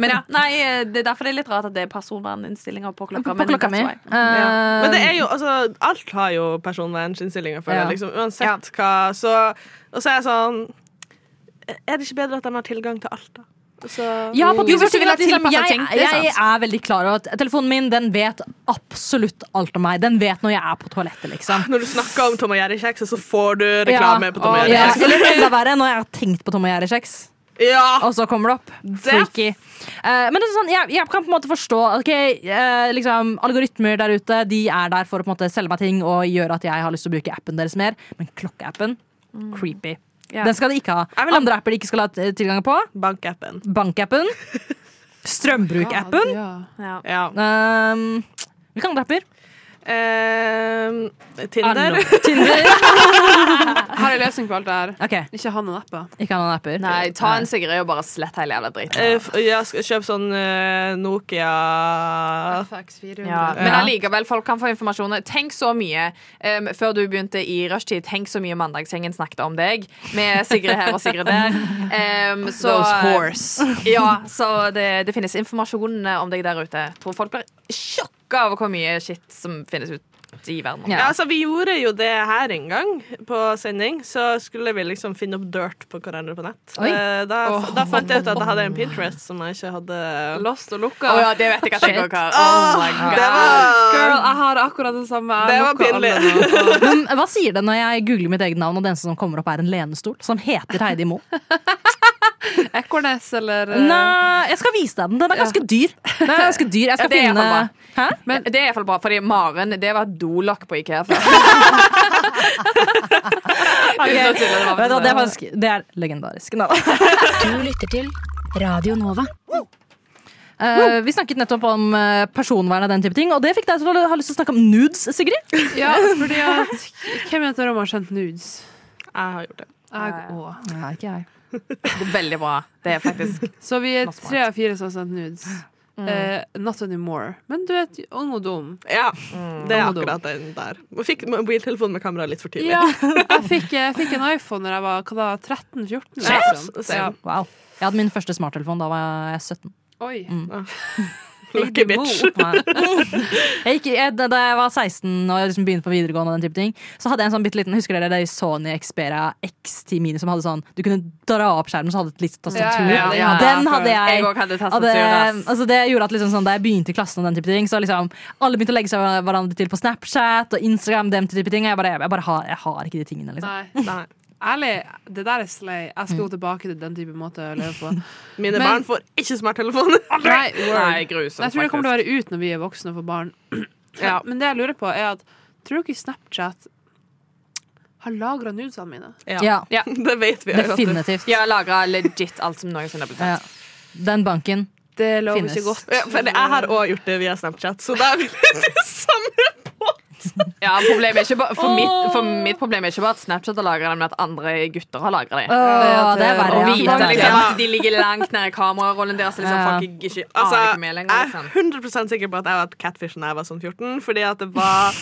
S6: Men ja, nei, eh, det er derfor det er litt rart at det er personverninnstillinger på klokka.
S5: På
S6: men
S5: klokka
S6: that's
S5: mi.
S6: why.
S5: Eh,
S7: Men det er jo, altså, alt har jo personverninnstillinger for
S5: Ja.
S7: det, liksom, uansett hva. Så, og så er jeg sånn Er det ikke bedre at de har tilgang til alt, da? Så-
S5: Ja, på
S6: Jo, hvis
S5: Twitter
S6: du vil ha
S5: at liksom,
S6: tilpasset
S5: jeg,
S6: ting, det er
S5: jeg er veldig klar over at telefonen min den vet absolutt alt om meg. Den vet når jeg er på toalettet, liksom.
S7: Når du snakker om Tom og Jerry-kjeks, så får du reklame på Tom og
S5: Ja,
S7: Jerry-kjeks.
S5: Eller enda verre, når jeg har tenkt på Tom og Jerry-kjeks,
S7: Ja.
S5: og så kommer det opp. Freaky. Eh, men det er sånn, jeg, jeg kan på en måte forstå ok, eh, liksom, algoritmer der ute de er der for å på en måte selge meg ting og gjøre at jeg har lyst til å bruke appen deres mer, men klokkeappen creepy.
S6: Mm. Ja.
S5: Den skal de ikke ha.
S7: vil ha-
S5: Andre apper de ikke skal ha eh, tilgang på.
S7: Bankappen.
S5: Bankappen. Strømbrukappen.
S2: Ja.
S6: Ja.
S7: Ja.
S5: Um, hvilke andre apper?
S7: Ehm, Tinder.
S5: Alle. Tinder.
S2: Her er løsning på alt det her.
S5: Ok,
S2: Ikke ha noen apper.
S5: ikke ha noen apper. Eh,
S6: Nei, ta en sigarett og bare slett hele jævla driten.
S7: Eh, f- ja, skal kjøpe sånn eh, Nokia
S2: FX 400.
S6: Ja. Men
S5: Ja.
S6: allikevel, folk kan få informasjon. Tenk så mye em, før du begynte i rushtid. Tenk så mye Mandagsgjengen snakket om deg, med Sigrid her og Sigrid der. Em, så,
S5: eh,
S6: eh, ja, så det, det finnes informasjon eh, om deg der ute. Tror folk blir sjokka over hvor mye shit som finnes ut i verden.
S5: Ja.
S7: Ja, altså, vi gjorde jo det her en gang på sending. Så skulle vi liksom finne opp dirt på hverandre på nett.
S5: Oi.
S7: Eh, Da, da fant jeg ut at jeg hadde en Pinterest som jeg ikke hadde
S2: Lost og
S6: Å
S2: lukka.
S6: ja, det vet jeg at jeg
S5: Shit.
S6: òg har. Oh my
S7: Det
S6: god.
S7: var
S2: Girl, jeg har akkurat det samme. Jeg
S7: Det var
S2: lukker alle
S7: pinlig.
S2: nå.
S5: Men hva sier det når jeg googler mitt eget navn, og det eneste som kommer opp, er en lenestol som heter Heidi Mo?
S2: Ekornes eller eh,
S5: Nei, jeg skal vise deg den. Den er ganske dyr. Den er ganske dyr. Jeg skal
S6: Ja, det er
S5: finne
S6: iallfall
S5: Hæ?
S6: Men det er iallfall bra, fordi Maren det var et dolokk på Ikea før. Uten å tulle, det var
S5: Vet du hva, Det er
S6: faktisk-
S5: faktisk Det er legendarisk. Nei, da.
S1: Du lytter til Radio Nova.
S5: Eh, vi snakket nettopp om eh, personvern og den type ting, og det fikk deg til å ha lyst til å snakke om nudes, Sigrid.
S2: Ja, fordi at Hvem i dette rommet har sendt nudes?
S7: Jeg har gjort det.
S2: Jeg
S6: Ja,
S2: òg.
S5: Nei, ikke jeg.
S6: Veldig bra. Det er faktisk
S2: Så vi er
S6: Not smart.
S2: tre av fire som har sendt nudes. Eh, not anymore. Men du er ung og dum.
S7: Ja, det er
S2: Nå Mm, må du-
S7: akkurat den der. Jeg Fikk mobiltelefonen med kamera litt for tidlig.
S2: Ja, jeg fikk, jeg fikk en iPhone da jeg var hva da, 13-14. eller
S7: Yes.
S2: noe sånt.
S7: Same.
S5: Wow. Jeg hadde min første smarttelefon da var jeg 17.
S2: Oi.
S7: Lucky bitch.
S5: Nei. Jeg gikk, jeg, da jeg var 16 og jeg liksom begynte på videregående, og den type ting, så hadde jeg en sånn bitte liten Husker dere det Sony Xperia X10 Mini som hadde sånn Du kunne dra opp skjermen, så hadde det et litt tastatur.
S2: Ja, ja, ja, ja.
S5: Den hadde
S6: Jeg
S5: jeg.
S6: òg hadde
S5: Og det,
S6: tastatur. ass.
S5: altså det gjorde at liksom sånn, Da jeg begynte i klassen, og den type ting Så liksom alle begynte å legge seg hverandre til på Snapchat og Instagram. Den type ting Og jeg bare, jeg bare har, jeg har ikke de tingene. Liksom.
S2: Nei.
S7: Nei.
S2: Ærlig, det der er slay. Jeg skal gå tilbake til den type måte å leve på.
S7: Mine
S2: Men-
S7: barn får ikke smarttelefon.
S2: Nei,
S6: Nei,
S2: word.
S6: grusomt.
S2: Jeg tror det kommer
S6: faktisk.
S2: til å være ut når vi er voksne og får barn.
S7: Ja.
S2: Men det jeg lurer på, er at tror dere ikke Snapchat har lagra nudesene mine?
S5: Ja,
S6: Ja.
S7: Det vet vi. jo at det-
S5: definitivt.
S6: Jeg har lagra legit alt som noensinne har blitt
S5: Ja.
S6: tatt.
S5: Den banken.
S2: Det lover
S5: Finnes.
S2: ikke godt.
S7: Ja, for jeg har òg gjort det via Snapchat, så da vil jeg det samme.
S6: Ja, problemet er ikke bare, for, mitt, for mitt problem er ikke bare at Snapchat har lagra det, men at andre gutter har lagra det.
S5: Åh, det er verre.
S6: Og
S5: ja.
S6: vite
S5: Det er
S6: liksom,
S5: verre.
S6: at de ligger langt nede i kamerarollen deres. så Liksom,
S5: Ja.
S6: folk ikke, ikke
S7: Altså,
S6: aner ikke med
S7: jeg
S6: lenger. Liksom.
S7: er 100 sikker på at jeg var catfish da jeg var sånn 14. Fordi at det var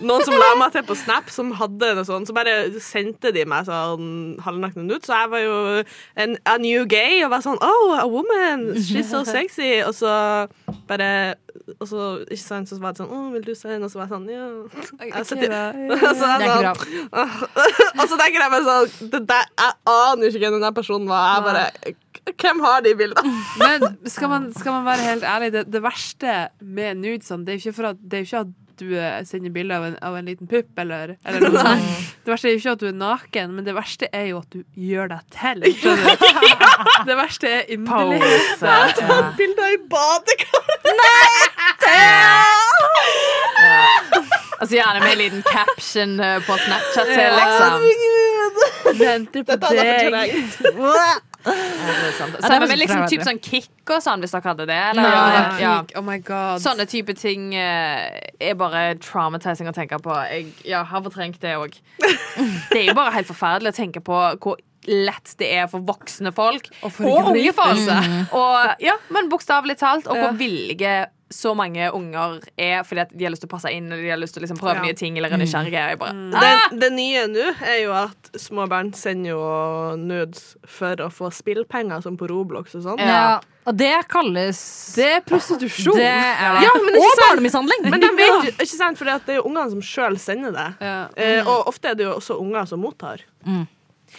S7: noen som la meg til på Snap, som hadde noe sånt. Så bare sendte de meg sånn halvnakne nudes. Så jeg var jo en, a new gay og var sånn Oh, a woman! She's so sexy! Og så bare Og så, ikke sant, så var det sånn Å, vil du se henne? Og så var jeg sånn Ja. Jeg setter- Og så er
S5: Det
S7: jeg
S5: er
S7: sånn,
S5: ikke bra.
S7: Og så tenker jeg meg sånn det der, Jeg aner ikke hvem den personen var. Jeg bare, k- Hvem har de bildene?
S2: Men skal man, skal man være helt ærlig, det, det verste med nudesene, det er jo ikke, for at, det er jo ikke at du eh, sender bilde av, en- av en liten pupp, eller, eller noe sånt. Det verste er jo ikke at du er naken, men det verste er jo at du gjør deg til. skjønner du? Det verste er inderlig.
S6: Ja.
S7: Bilder i badekar!
S6: Altså Gjerne med en liten caption eh, på Snapchat. til, Liksom.
S2: Venter på
S7: Dette hadde jeg
S2: deg.
S7: fortrengt.
S6: Samme med liksom,
S5: forferdelig.
S6: typ sånn kick og sånn, hvis dere hadde det. Eller,
S2: Ja,
S6: ja, ja.
S2: peak, Oh my god.
S6: Sånne type ting eh, er bare traumatizing å tenke på. Jeg ja, har fortrengt det òg. Det er jo bare helt forferdelig å tenke på hvor lett det er for voksne folk og,
S2: for
S6: unge folk.
S2: forgripelse.
S6: Og, ja, men bokstavelig talt, og hvor
S2: Ja.
S6: villige så mange unger er fordi at de har lyst til å passe inn eller de har lyst til å liksom prøve
S7: Ja. Mm.
S6: nye ting eller er nysgjerrige. Jeg bare, "Ah,
S7: Det, det nye nå er jo at små barn sender jo nudes for å få spillpenger, som på Roblox og sånn.
S6: Ja.
S5: Ja, og det kalles
S2: Det er prostitusjon.
S5: Det er det.
S7: Ja, men
S5: og barnemishandling!
S7: Men de vet jo, ikke sant, for det er jo ungene som sjøl sender det.
S2: Ja.
S7: Eh, og ofte er det jo også unger som mottar.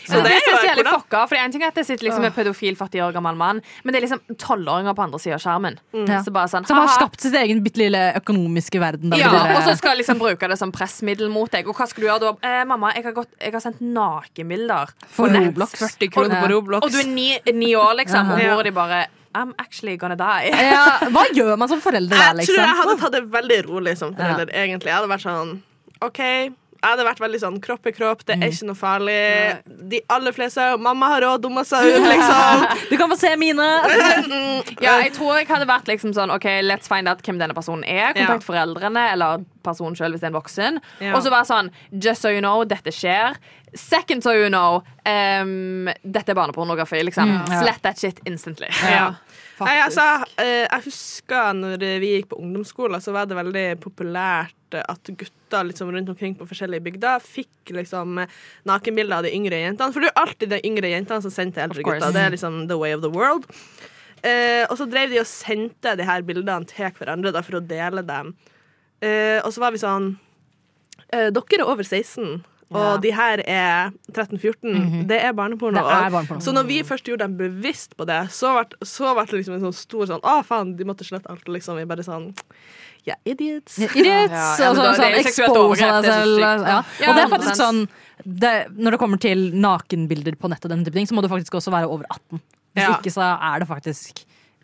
S6: Så det,
S7: det er jo
S6: synes jeg er litt
S7: hvordan-
S6: fucka. For en ting er at det sitter liksom en pedofil 40 år gammel mann, men det er liksom tolvåringer på andre siden av skjermen.
S5: Ja.
S6: Så bare sånn,
S5: Som har
S6: haha.
S5: skapt sitt egen bitte lille økonomiske verden. der
S6: Ja,
S5: de bare-
S6: og så skal jeg liksom bruke det som pressmiddel mot deg. Og hva skal du gjøre da? Eh, mamma, jeg har, gått, jeg har sendt nakenbilder.
S5: For Roblox.
S7: 40 kroner på Roblox.
S6: Og du er ni, ni år, liksom. Og
S7: Ja.
S6: mora di bare I'm actually gonna die.
S5: Ja, hva gjør man som foreldre da,
S7: Jeg tror jeg
S5: liksom?
S7: hadde tatt det veldig rolig som forelder, egentlig. Jeg hadde vært sånn OK. Jeg hadde vært veldig sånn kropp er kropp, det er ikke noe farlig. De aller fleste Mamma har råd, dumma seg ut, liksom.
S5: Du kan få se mine!
S6: Ja, jeg tror jeg hadde vært liksom sånn OK, let's find out hvem denne personen er. Kontakt foreldrene eller personen sjøl hvis det er en voksen.
S7: Ja.
S6: Og så være sånn Just so you know, dette skjer. Second so you know, ehm, dette er barnepornografi. Liksom. Slett that shit instantly.
S7: Ja. Nei, altså, eh, jeg husker når vi gikk på ungdomsskolen, så var det veldig populært at gutter liksom, rundt omkring på forskjellige bygder fikk liksom, nakenbilder av de yngre jentene. For det er jo alltid de yngre jentene som sendte eldre
S6: course.
S7: gutter. Det er liksom the way of the world. Eh, og så drev de og sendte de her bildene til hverandre da, for å dele dem. Eh, og så var vi sånn eh, Dere er over 16, og de her er 13-14. Det er barneporno.
S5: Det er
S7: Og-
S5: barneporno.
S7: Så når vi først gjorde dem bevisst på det, så ble, så ble det liksom en sånn stor sånn Å, faen, de måtte slette alt. Liksom. Vi bare sånn Ja, idiots.
S5: Idiots!
S6: Ja, ja, men
S5: og så
S6: da- det
S5: sånn
S6: er jo seksuelt
S5: expose
S6: overgrep,
S5: deg
S6: det er så
S5: selv.
S6: sykt.
S5: Ja.
S6: Ja,
S5: Og det er faktisk
S6: 100%.
S5: sånn det, Når det kommer til nakenbilder på nett og den type ting, så må du faktisk også være over 18. Hvis
S7: Ja.
S5: ikke så er det faktisk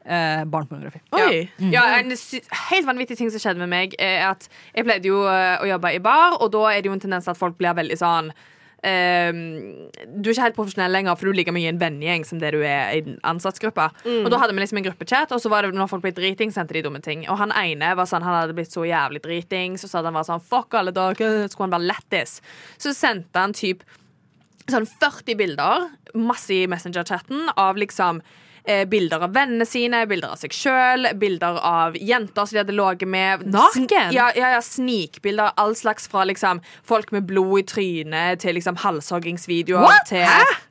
S5: eh, barnepornografi.
S7: Oi!
S6: Ja, en sy helt vanvittig ting som skjedde med meg, er at jeg pleide jo eh, å jobbe i bar, og da er det jo en tendens til at folk blir veldig sånn ehm, du er ikke helt profesjonell lenger, for du ligger mye i en vennegjeng som det du er i den ansattgruppa. Og da hadde vi liksom en gruppechat, og så var det når folk ble driting, sendte de dumme ting. Og han ene var sånn, han hadde blitt så jævlig driting, så sa han var sånn fuck alle dager, skulle han være lættis. Så sendte han typ sånn 40 bilder, masse i Messenger-chatten, av liksom eh, Bilder av vennene sine, bilder av seg sjøl, bilder av jenter som de hadde ligget med.
S7: Naken?
S6: Sn- Ja, ja, ja, Snikbilder. All slags fra liksom folk med blod i trynet til liksom halshoggingsvideoer. Til,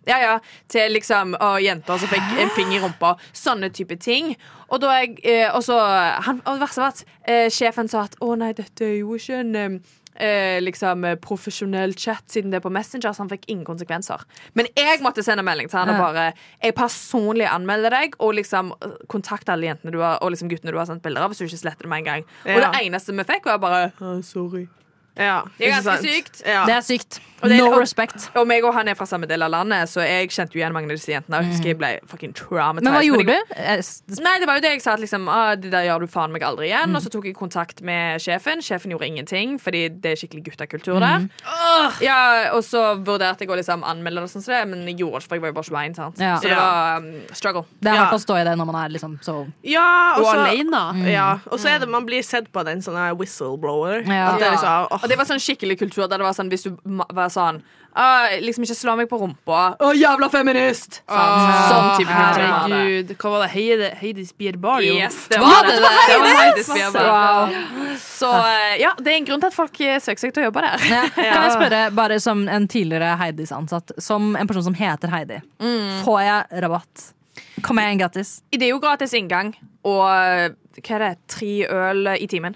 S6: ja, ja, til liksom og jenter som fikk en finger i rumpa. Sånne type ting. Og da jeg eh, Og så han, og det verste var at eh, sjefen sa at å nei, dette er jo ikke en eh, eh, liksom eh, profesjonell chat siden det er på Messenger, så han fikk ingen konsekvenser. Men jeg måtte sende melding til han og bare Jeg personlig anmelder deg, og liksom eh, kontakt alle jentene du har, og liksom guttene du har sendt bilder av, hvis du ikke sletter det med en gang. Og
S7: Ja.
S6: det eneste vi fikk, var bare
S7: Å, sorry. Ja,
S6: Det er
S7: ikke sant?
S6: ganske sykt.
S7: Ja.
S5: Det er sykt.
S6: det er-
S5: No
S6: og-
S5: respect.
S6: Og meg og han er fra samme del av landet, så jeg kjente jo igjen mange av disse jentene. Og jeg husker jeg ble fucking traumatized.
S5: Men hva
S6: jeg-
S5: gjorde du? Eh, s-
S6: Nei, det var jo det jeg sa at liksom, ah, det der gjør du faen meg aldri igjen. Og så tok jeg kontakt med sjefen. Sjefen gjorde ingenting, fordi det er skikkelig guttakultur der. Ja, og så vurderte jeg å liksom anmelde det, og sånn som det, men jeg gjorde det ikke, for jeg var jo bare 21. Sant?
S5: Ja.
S6: Så det
S7: Ja.
S6: var um, struggle.
S5: Det er
S7: Ja.
S5: hardt å stå i det når man er liksom så
S7: ja, og
S2: Og
S7: så
S2: alene.
S7: ja, og så er det man blir sett på den sånn whistleblower.
S5: Ja.
S7: At det er liksom, åh,
S6: Og det var sånn skikkelig kultur der det var sånn hvis du ma- var sånn ah, Liksom ikke slå meg på rumpa. Å, jævla feminist! Sant?
S2: Ah.
S6: sånn type kultur. var det.
S2: Herregud. Hva var det? Heidi, Heidi Spierbar, jo.
S6: Yes, det var det. det, det var Heidi Spierberg. Så eh, ja, det er en grunn til at folk eh, søker seg til å jobbe der.
S5: Kan jeg spørre, bare som en tidligere Heidis-ansatt, som en person som heter Heidi,
S6: Mm.
S5: får jeg rabatt? Kommer jeg inn gratis?
S6: Det er jo gratis inngang og eh, hva er det, tre øl i timen.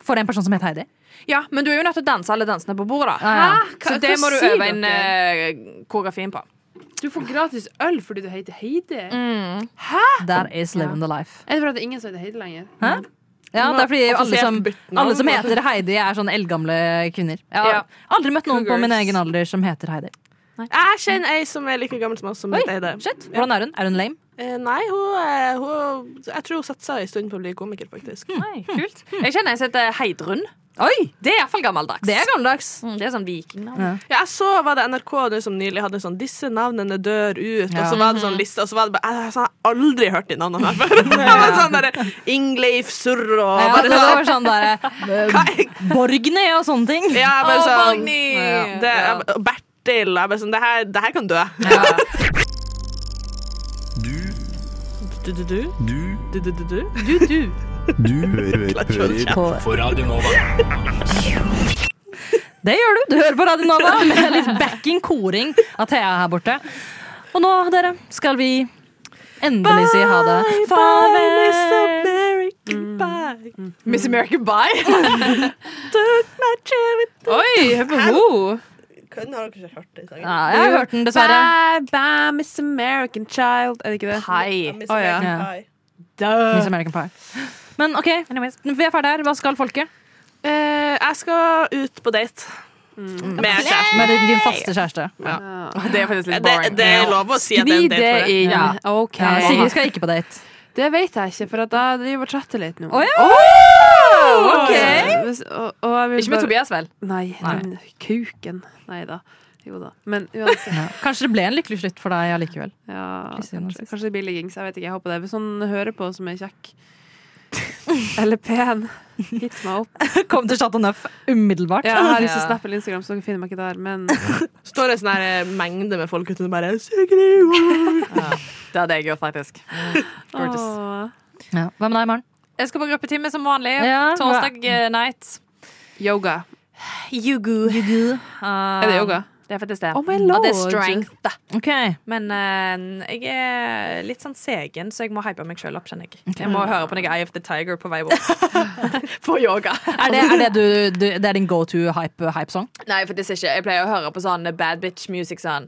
S5: For en person som heter Heidi?
S6: Ja, men du er jo nødt til å danse alle dansene på bordet, da.
S5: Ja, ja.
S6: Så det
S2: Ah, hva
S6: må du
S2: sier
S6: øve inn eh, koreografien på.
S2: Du får gratis øl fordi du heter Heidi.
S5: That is living the life.
S2: Er det fordi det er ingen som heter Heidi lenger?
S5: Ja, det er fordi alle
S7: offisielt
S5: som,
S7: bytte navn.
S5: alle som heter Heidi, er sånn eldgamle kvinner. Jeg har
S6: Ja.
S5: aldri møtt noen på
S2: Cougars.
S5: min egen alder som heter Heidi.
S7: Jeg kjenner ei som er like gammel som oss, som
S5: Oi,
S7: heter Eide.
S5: shit, Hvordan er hun? Er hun lame?
S7: Eh, nei, hun, eh, hun Jeg tror hun satsa en stund på å bli komiker, faktisk.
S6: Nei, kult. Jeg kjenner en som heter Heidrun.
S5: Oi,
S6: Det er iallfall gammeldags.
S5: Det er gammeldags.
S6: Mm, det er sånn vikingnavn.
S7: Ja, jeg så var det NRK nå som nylig hadde sånn 'Disse navnene dør ut', og
S5: Ja.
S7: så var det sånn liste, og så var det bare Jeg, jeg har aldri hørt de navnene her før. Det var sånn derre Ingleif Surro og
S5: Ja,
S7: bare
S5: det var sånn
S7: sånn.
S5: der, eh, Borgne og sånne ting.
S7: Ja, bare
S6: Å,
S7: sånn det,
S6: Magni!
S7: jeg, bare- Bertil jeg bare sånn, det her, det her kan dø.
S8: Du,
S7: Du, du, du,
S8: du,
S7: du, du, du, du.
S8: du hører, hører på. på Radio Nova.
S5: Det gjør du. Du hører på Radio Nova med litt backing koring av Thea her borte. Og nå, dere, skal vi endelig si ha det. Mm.
S7: Farvel! Miss American Pie.
S6: Miss American Bye.
S7: Took my cherry
S2: Oi, hør på henne!
S7: Kødden har dere ikke hørt den sangen?
S5: Ja, jeg har hørt den, dessverre.
S2: Bye, bye, Miss American Child. Er det ikke det?
S6: Hei.
S7: Miss
S2: Å, ja.
S7: American
S5: Ja.
S7: Pie.
S5: Miss American Pie. Men OK, anyways, vi er ferdig her. Hva skal folket?
S7: Eh, jeg skal ut på date. Med kjæresten.
S5: Med din din faste kjæreste.
S6: Det er faktisk litt
S7: Det,
S6: boring.
S7: det er lov å si at det er
S2: Gni
S7: en date
S2: det
S7: for deg.
S2: inn.
S5: Ja.
S2: OK.
S5: Ja, Sigrid skal ikke på date.
S2: Det vet jeg ikke, for at jeg driver og chatter litt nå.
S5: Å ja!
S2: Eh, hvis- Og, og jeg vil
S6: Ikke med
S2: bare-
S6: Tobias, vel?
S2: Nei,
S5: Nei.
S2: den kuken. Nei da. Jo da. Men uansett.
S5: Ja. Kanskje det ble en lykkelig slutt for deg allikevel.
S2: Ja,
S5: Christian
S2: kanskje,
S5: Narcissus.
S2: kanskje det blir liggings. Jeg vet ikke. Jeg håper det. Hvis noen hører på som er kjekk eller pen, hit meg opp.
S5: Kom til Chateau Neuf umiddelbart.
S2: Ja, jeg har ikke
S6: Ja.
S2: Snap eller Instagram, så dere finner meg ikke der. Men
S7: Står det en sånn her eh, mengde med folk ute og bare Sigrid, wow.
S6: Det hadde jeg gjort, faktisk.
S2: Åh.
S5: Ja. Hva med deg, Maren?
S6: Jeg skal på gruppetime som vanlig.
S5: Ja,
S6: Torsdag eh, night.
S2: Yoga.
S6: Yugu.
S2: Er det yoga?
S6: Ah, Det er faktisk det.
S2: Oh my
S6: Og det er
S2: lord.
S6: strength. da.
S5: Ok,
S6: Men eh, jeg er litt sånn segen, så jeg må hype meg sjøl opp, kjenner jeg. Jeg må høre på noe Eye of the Tiger på vei bort. på yoga.
S5: Er det, er det, du, du, det er din go to hype-song?
S6: Nei, faktisk ikke. Jeg pleier å høre på sånn bad bitch music sånn.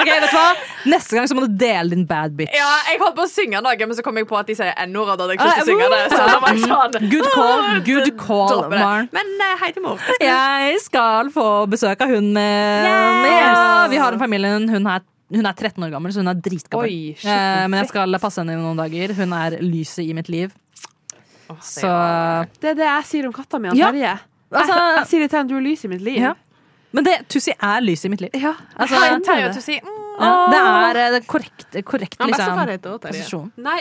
S5: Ok, vet du hva? Neste gang så må du dele din bad bitch.
S6: Ja, jeg holdt på å synge noe, men så kom jeg på at de sier n-ord, og da hadde jeg ikke lyst til å synge det. Så da var jeg sånn.
S5: Good call, good call,
S6: Dropper det.
S5: Maren.
S6: Men eh, hei til mor.
S5: Jeg skal få besøk av hun med ja, Vi har en familie. Hun er, hun er 13 år gammel, så hun er dritgammel.
S2: Oi, shit.
S5: Eh, men jeg skal passe henne i noen dager. Hun er lyset i mitt liv. Så
S2: Det er det jeg sier om katta mi, han
S5: Ja.
S2: Terje. Jeg, jeg
S5: altså,
S2: sier det til han du er lys i mitt liv.
S5: Ja. Men det, Tussi er lyset i mitt liv.
S2: Ja,
S5: Altså,
S2: jeg mener
S6: Terje og
S2: det.
S6: Tussi. mm.
S5: Ja, det er eh, det korrekte, korrekte
S7: Han
S5: liksom,
S7: bestefar heter også Terje.
S5: posisjon.
S2: Nei.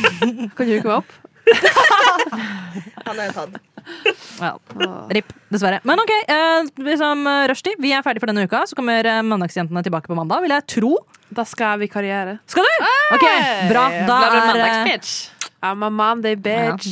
S2: Kan du ikke være opp?
S7: Han er tatt.
S5: Ja. Ripp, dessverre. Men ok, eh, liksom, eh, rushtid. Vi er ferdig for denne uka. Så kommer eh, Mandagsjentene tilbake på mandag, vil jeg tro.
S2: Da skal jeg vikariere.
S5: Skal du? Ok, bra. Da
S6: Blir du
S5: er eh,
S6: mandagsbitch?
S2: I'm a Monday bitch.